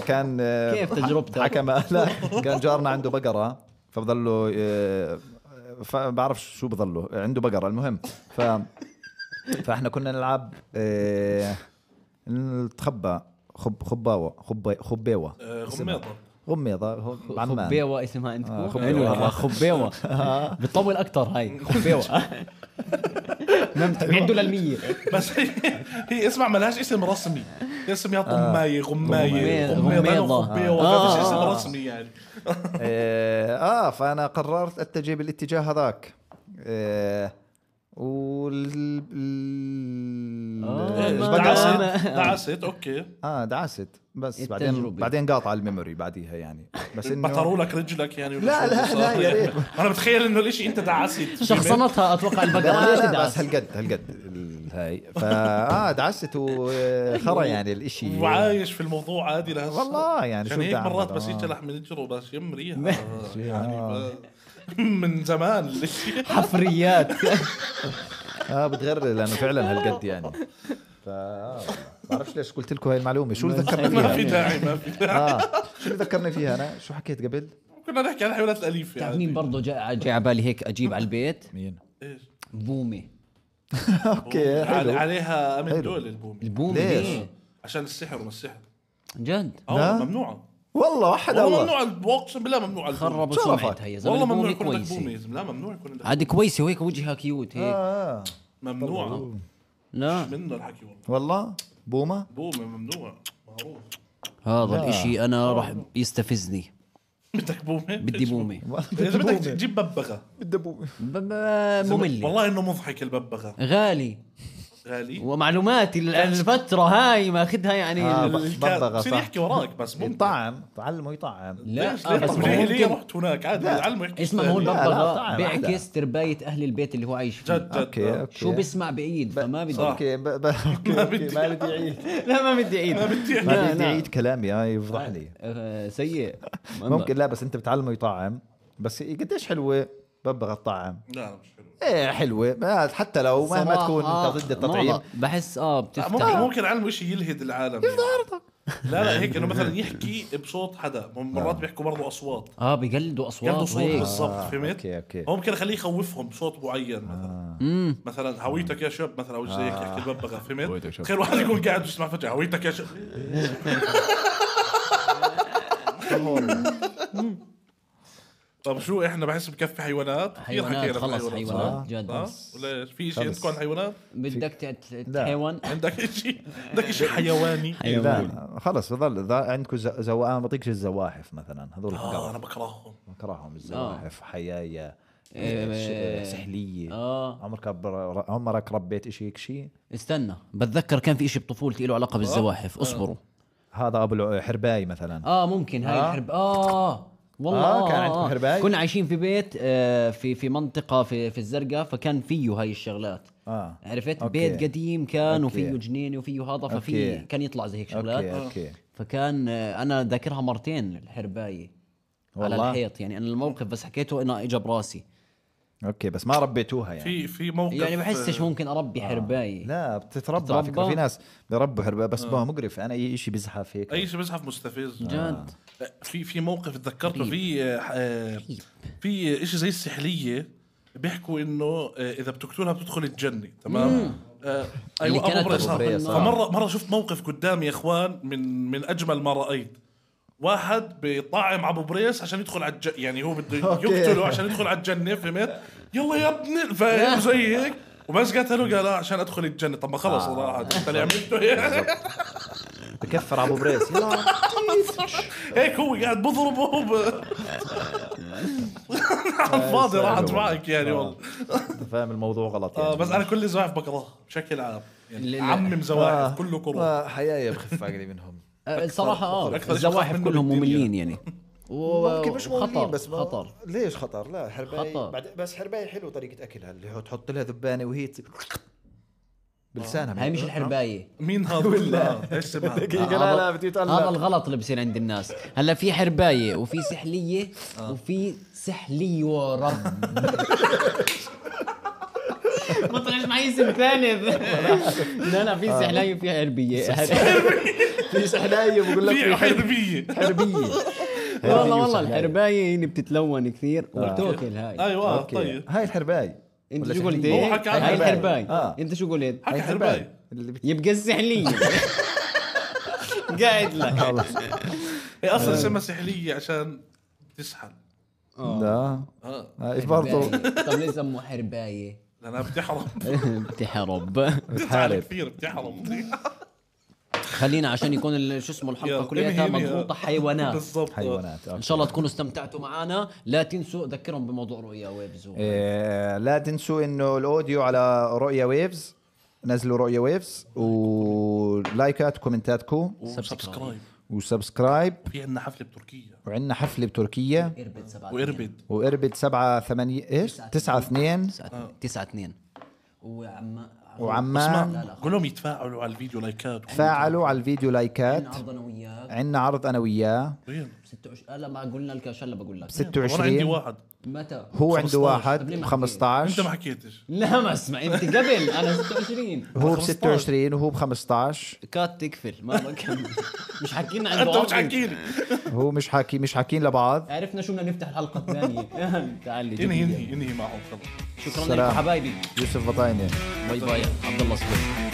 S3: كان آه،
S2: كيف تجربتك؟
S3: حكم لا كان جارنا عنده بقره فبضله آه، ف- بعرف شو بضله عنده بقره المهم ف فاحنا كنا نلعب آه، نتخبى خب خباوه خب خبيوه
S1: آه، غميضه
S3: غميضه عمان
S2: خبيوه اسمها
S3: آه،
S2: عندكم
S3: خبيوة.
S2: حلوة والله، خبيوه بتطول اكثر هاي خبيوه نمت بيعدوا للمية
S1: بس هي, هي اسمع ملهاش اسم رسمي
S3: آه.
S1: اسم يا طمايه غمايه
S2: غميضة.
S1: غميضه
S2: غميضة.
S1: وخبيوه
S2: آه،
S1: ما فيش
S2: آه،
S1: اسم
S2: آه.
S1: رسمي يعني
S3: آه, اه فانا قررت اتجه بالاتجاه هذاك آه وال ال-
S2: آه،
S1: دعست
S3: البقرة-
S2: أنا-
S1: دعست اوكي
S3: اه دعست بس بعدين
S2: التجربة.
S3: بعدين قاطع الميموري بعديها يعني بس انه
S1: بطروا لك رجلك يعني
S3: لا، لا، لا، يا ريت.
S1: انا بتخيل انه الاشي انت دعست
S2: شخصنتها اتوقع البقرة ليش
S3: لا لا بس
S2: تدعس
S3: هالقد هالقد ال- هاي فاه دعست وخرى يعني الاشي
S1: وعايش في الموضوع عادي لهسه
S3: والله يعني شو
S1: عشان هيك
S3: بدي أعمل؟
S1: مرات بس
S3: آه.
S1: يجلح من الجرو بس يمريها يعني ب- من زمان الاشي
S2: حفريات
S3: اه بتغرر لانه فعلا هالقد يعني فا بعرفش ليش قلت لكم هاي المعلومه شو اللي ذكرني
S1: ما
S3: فيها
S1: في داعي ما في داعي
S3: اه شو اللي ذكرني فيها انا شو حكيت قبل
S1: كنا نحكي عن الحيوانات الاليفه
S2: تعرف
S1: يعني
S2: مين برضه جاء جاء على بالي هيك اجيب على البيت
S3: مين
S1: إيش؟
S2: بومي
S3: اوكي
S1: على-
S3: حلو
S1: عليها امن
S3: حلو.
S1: دول البومي
S2: البومي
S3: ليش؟
S2: ليه؟
S1: عشان السحر وما السحر
S2: جد
S1: اه
S3: لا.
S1: ممنوعه
S3: والله وحد
S1: والله
S3: الله
S1: ممنوع اقسم بالله ممنوع البومي.
S2: خربوا
S3: شرفك.
S2: سمعتها يا زلمه
S1: والله ممنوع
S2: البومي
S1: يكون عندك بومي
S2: كويسه
S1: يا زلمه لا ممنوع يكون عندك
S2: عادي كويسه وهيك وجهها كيوت هيك
S3: آه.
S1: ممنوعه
S2: لا
S1: منه الحكي والله
S3: والله بومه
S1: بومي ممنوع معروف
S2: هذا الاشي انا راح يستفزني
S1: بدك بومي
S2: بدي بومي
S1: اذا بدك تجيب ببغاء
S3: بدي بومه
S2: ب- ب- ممل
S1: والله انه مضحك الببغاء
S2: غالي
S1: غالي
S2: ومعلوماتي ال- الفترة هاي ماخذها يعني
S3: آه،
S2: ال-
S1: الكا-
S3: ببغاء،
S1: بصير
S3: صح.
S1: يحكي وراك بس ممتع
S3: يطعم تعلمه يطعم
S2: لا
S1: ليش
S2: آه،
S1: ليه
S2: بس
S1: طب
S2: ما
S1: ليه ليه
S2: ممكن
S1: رحت هناك عادي علمه يحكي
S2: اسمع ما هو
S1: ثانية.
S3: لا،
S2: الببغاء
S3: لا،
S2: بيعكس ترباية أهل البيت اللي هو عايش فيه
S1: جد جد
S3: اوكي
S1: آه.
S3: اوكي
S2: شو بيسمع بعيد فما بدي
S1: صح.
S3: اوكي ب... ب... أوكي،
S1: ما
S3: أوكي،
S1: بدي.
S3: ما بدي اعيد
S2: لا ما بدي أعيد
S1: ما بدي أعيد.
S3: ما
S2: لا،
S3: بدي
S2: لا.
S3: اعيد كلامي هاي
S1: طيب.
S3: يفضحني
S2: آه، سيء
S3: ممكن لا بس انت بتعلمه يطعم بس إيه، قديش حلوه ببغى تطعم
S1: لا مش حلو
S3: ايه حلوه ما- حتى لو مهما
S2: صراحة
S3: تكون انت ضد التطعيم
S2: مرة بحس اه
S1: لا، ممكن
S2: بتفتح
S1: ممكن علمه شيء يلهد العالم يعني.
S3: يفضح عرضك
S1: لا لا هيك انه مثلا يحكي بصوت حدا مرات بيحكوا برضه اصوات
S2: اه بيقلدوا اصوات
S1: ياخذوا صوت
S2: هيك.
S1: بالضبط
S3: آه،
S1: فهمت؟
S3: أوكي، أوكي.
S1: هو ممكن اخليه يخوفهم بصوت معين مثلا مثلا هويتك يا شاب مثلا او شيء هيك يحكي الببغاء فهمت؟
S4: هويتك يا شاب.
S1: تخيل واحد يكون قاعد بيسمع فجاه هويتك يا شاب طب طيب شو احنا بحس بكفي حيوانات كثير
S2: حيوانات،
S1: حكينا
S2: خلص
S1: بالحيوانات،
S2: حيوانات،
S1: صح؟
S2: جد.
S1: ها؟ وليش في شيء
S3: خلص.
S1: عندكم عن حيوانات؟
S2: بدك تت-
S3: لا. إيه،
S2: تحيوان
S1: عندك شيء عندك شيء حيواني
S3: لا خلص بضل ذا عندكم ز- زو... انا بعطيك الزواحف مثلا هذول
S1: اه
S3: آه
S1: انا بكرههم
S3: اكرههم الزواحف حيايه
S2: آه. إيه.
S3: ش- سحليه
S2: آه.
S3: عمرك بر... عمرك ربيت شيء هيك شيء
S2: استنى بتذكر كان في اشي بطفولتي له علاقه بالزواحف اصبروا
S3: هذا ابو الع- حرباي مثلا
S2: اه ممكن هاي
S3: آه.
S2: الحرب اه والله
S3: آه،
S2: آه
S3: كان عندكم حرباية؟
S2: كنا عايشين في بيت آه في في منطقه في في الزرقاء فكان فيه هاي الشغلات
S3: آه.
S2: عرفت
S3: أوكي.
S2: بيت قديم كان
S3: أوكي.
S2: وفيه جنينه وفيه هذا ففي
S3: أوكي.
S2: كان يطلع زي هيك شغلات
S3: اوكي اوكي
S2: فكان آه، انا ذاكرها مرتين الحربايه على
S3: والله؟
S2: الحيط يعني انا الموقف بس حكيته انا اجى براسي
S3: اوكي بس ما ربيتوها يعني
S1: في في موقف آه،
S2: يعني بحسش ممكن اربي حربايه
S3: آه. لا بتتربى على فكره
S2: بتتربى؟
S3: في ناس بيربوا حرباء بس آه. مقرف انا اي شيء بزحف هيك
S1: اي شيء بزحف مستفز آه،
S2: جد
S1: في في موقف تذكرته في آه،
S2: طيب.
S1: في شيء زي السحليه بيحكوا انه آه، اذا بتقتلها بتدخل الجنه تمام آه،
S2: اللي
S1: ايوه
S2: يعني كانت
S1: ابو بريس
S2: أبو
S1: آه.
S3: بريس، آه.
S1: فمره مره شفت موقف قدامي يا اخوان من من اجمل ما رايت واحد بيطعم ابو بريس عشان يدخل على الج... يعني هو بده
S3: أوكي.
S1: يقتله عشان يدخل على الجنه فهمت يلا يا ابني فاهم زي هيك وبس قتله قال لا عشان ادخل الجنه طب ما خلص
S2: آه.
S1: صراحه انت اللي عملته هيك.
S3: بكفر ابو بريس يلا
S1: هيك هو قاعد بضربه ب... على
S2: آه،
S1: الفاضي راحت معك يعني والله
S3: انت فاهم الموضوع غلط يعني
S1: آه بس انا كل زواحف بكرهها بشكل عام
S2: لا،
S1: يعني
S2: لا.
S1: عمم زواحف كله كره
S3: آه، حياي بخف عقلي منهم
S2: آه، الصراحه اه
S1: أكثر شيء بخاف
S2: الزواحف
S1: منه
S2: كلهم
S1: بالدنيا.
S2: مملين يعني
S5: ممكن مش
S2: خطر
S5: موجودين بس ما-
S2: خطر
S5: ليش خطر؟ لا حرباية
S2: خطر.
S5: بعد بس حرباية حلوة طريقة أكلها اللي هو تحط لها ذبانة وهي ت- بلسانها
S2: آه. هاي مش الحربايه
S1: مين هذا آه، ولا ايش اسمها
S5: دقيقة لا لا بدي أتقلب
S2: آه، هذا الغلط اللي بصير عند الناس هلا في حربايه وفي سحليه وفي سحلي ورب مطرش معي اسم ثالث لا لا في سحلايه وفي حربيه
S5: في سحلاية بقول لك
S1: في حربيه
S2: حربيه والله والله الحربايه يعني بتتلون كثير وتوكل هاي
S1: ايوه آه،
S3: أوكي.
S1: طيب
S3: هاي الحرباي
S2: انت
S3: ولا
S2: شو قلت
S3: سحلية؟
S1: هو حكى عن
S2: هاي
S3: حرباية.
S2: الحربايه
S3: آه.
S2: انت شو قلت
S1: حكى
S3: هاي
S1: حرباي
S3: اللي بت...
S2: يبقى السحليه قاعد لك
S1: هي اصلا
S3: آه.
S1: اسمها سحليه عشان تسحل
S3: لا
S1: اه
S3: هاي برضه
S2: طب ليه طيب، سموه حربايه
S1: لانها بتحرم
S2: بتحرب
S1: بتعلم
S3: بتحارب
S1: كثير بتحرم
S2: خلينا عشان يكون ال- شو اسمه
S1: يلا،
S2: الحلقه
S3: إيه
S2: كلها
S1: انهي- انهي.
S2: مضغوطه حيوانات
S1: بالضبط آه.
S3: حيوانات
S2: ان
S3: أوكي.
S2: شاء الله تكونوا استمتعتوا معنا لا تنسوا ذكرهم بموضوع رؤيا ويبز و-
S3: إيه، لا تنسوا انه الاوديو على رؤيا ويفز نزلوا رؤيا ويفز ولايكات وكومنتاتكم
S1: وسبسكرايب
S3: وسبسكرايب
S1: في عندنا حفله بتركيا
S3: وعندنا حفله بتركيا
S2: اربد سبعة
S1: واربد
S3: واربد 7 8 ايش 9 2
S2: تسعة- تسعة اثنين وعما
S3: وعمان
S1: اسمع قول لهم يتفاعلوا على الفيديو لايكات
S3: تفاعلوا على الفيديو لايكات
S2: عرض انا وياك
S3: عندنا عرض انا وياه
S1: وين
S2: 26 لا ما قلنا لك عشان لا بقول لك
S1: وانا عندي
S3: 26
S1: واحد
S2: متى
S3: هو عنده
S1: 15.
S3: واحد
S2: طب ليه ما
S3: ب
S1: انت ما
S3: 15
S1: حكيتش
S2: لا ما اسمع انت قبل انا 26
S3: هو ب
S1: 15.
S3: 26 وهو ب 15
S2: كات تقفل ما بكمل مش حكينا عنده
S1: انت مش
S2: عرض.
S1: حكيني
S3: هو مش حاكي مش حاكين لبعض
S2: عرفنا شو بدنا نفتح الحلقه الثانيه تعال لي
S1: انهي
S2: جديد.
S1: انهي انهي معهم خلص
S2: شكرا لك
S3: سلام.
S2: حبايبي
S3: يوسف بطاينه
S2: باي باي عبد الله صبري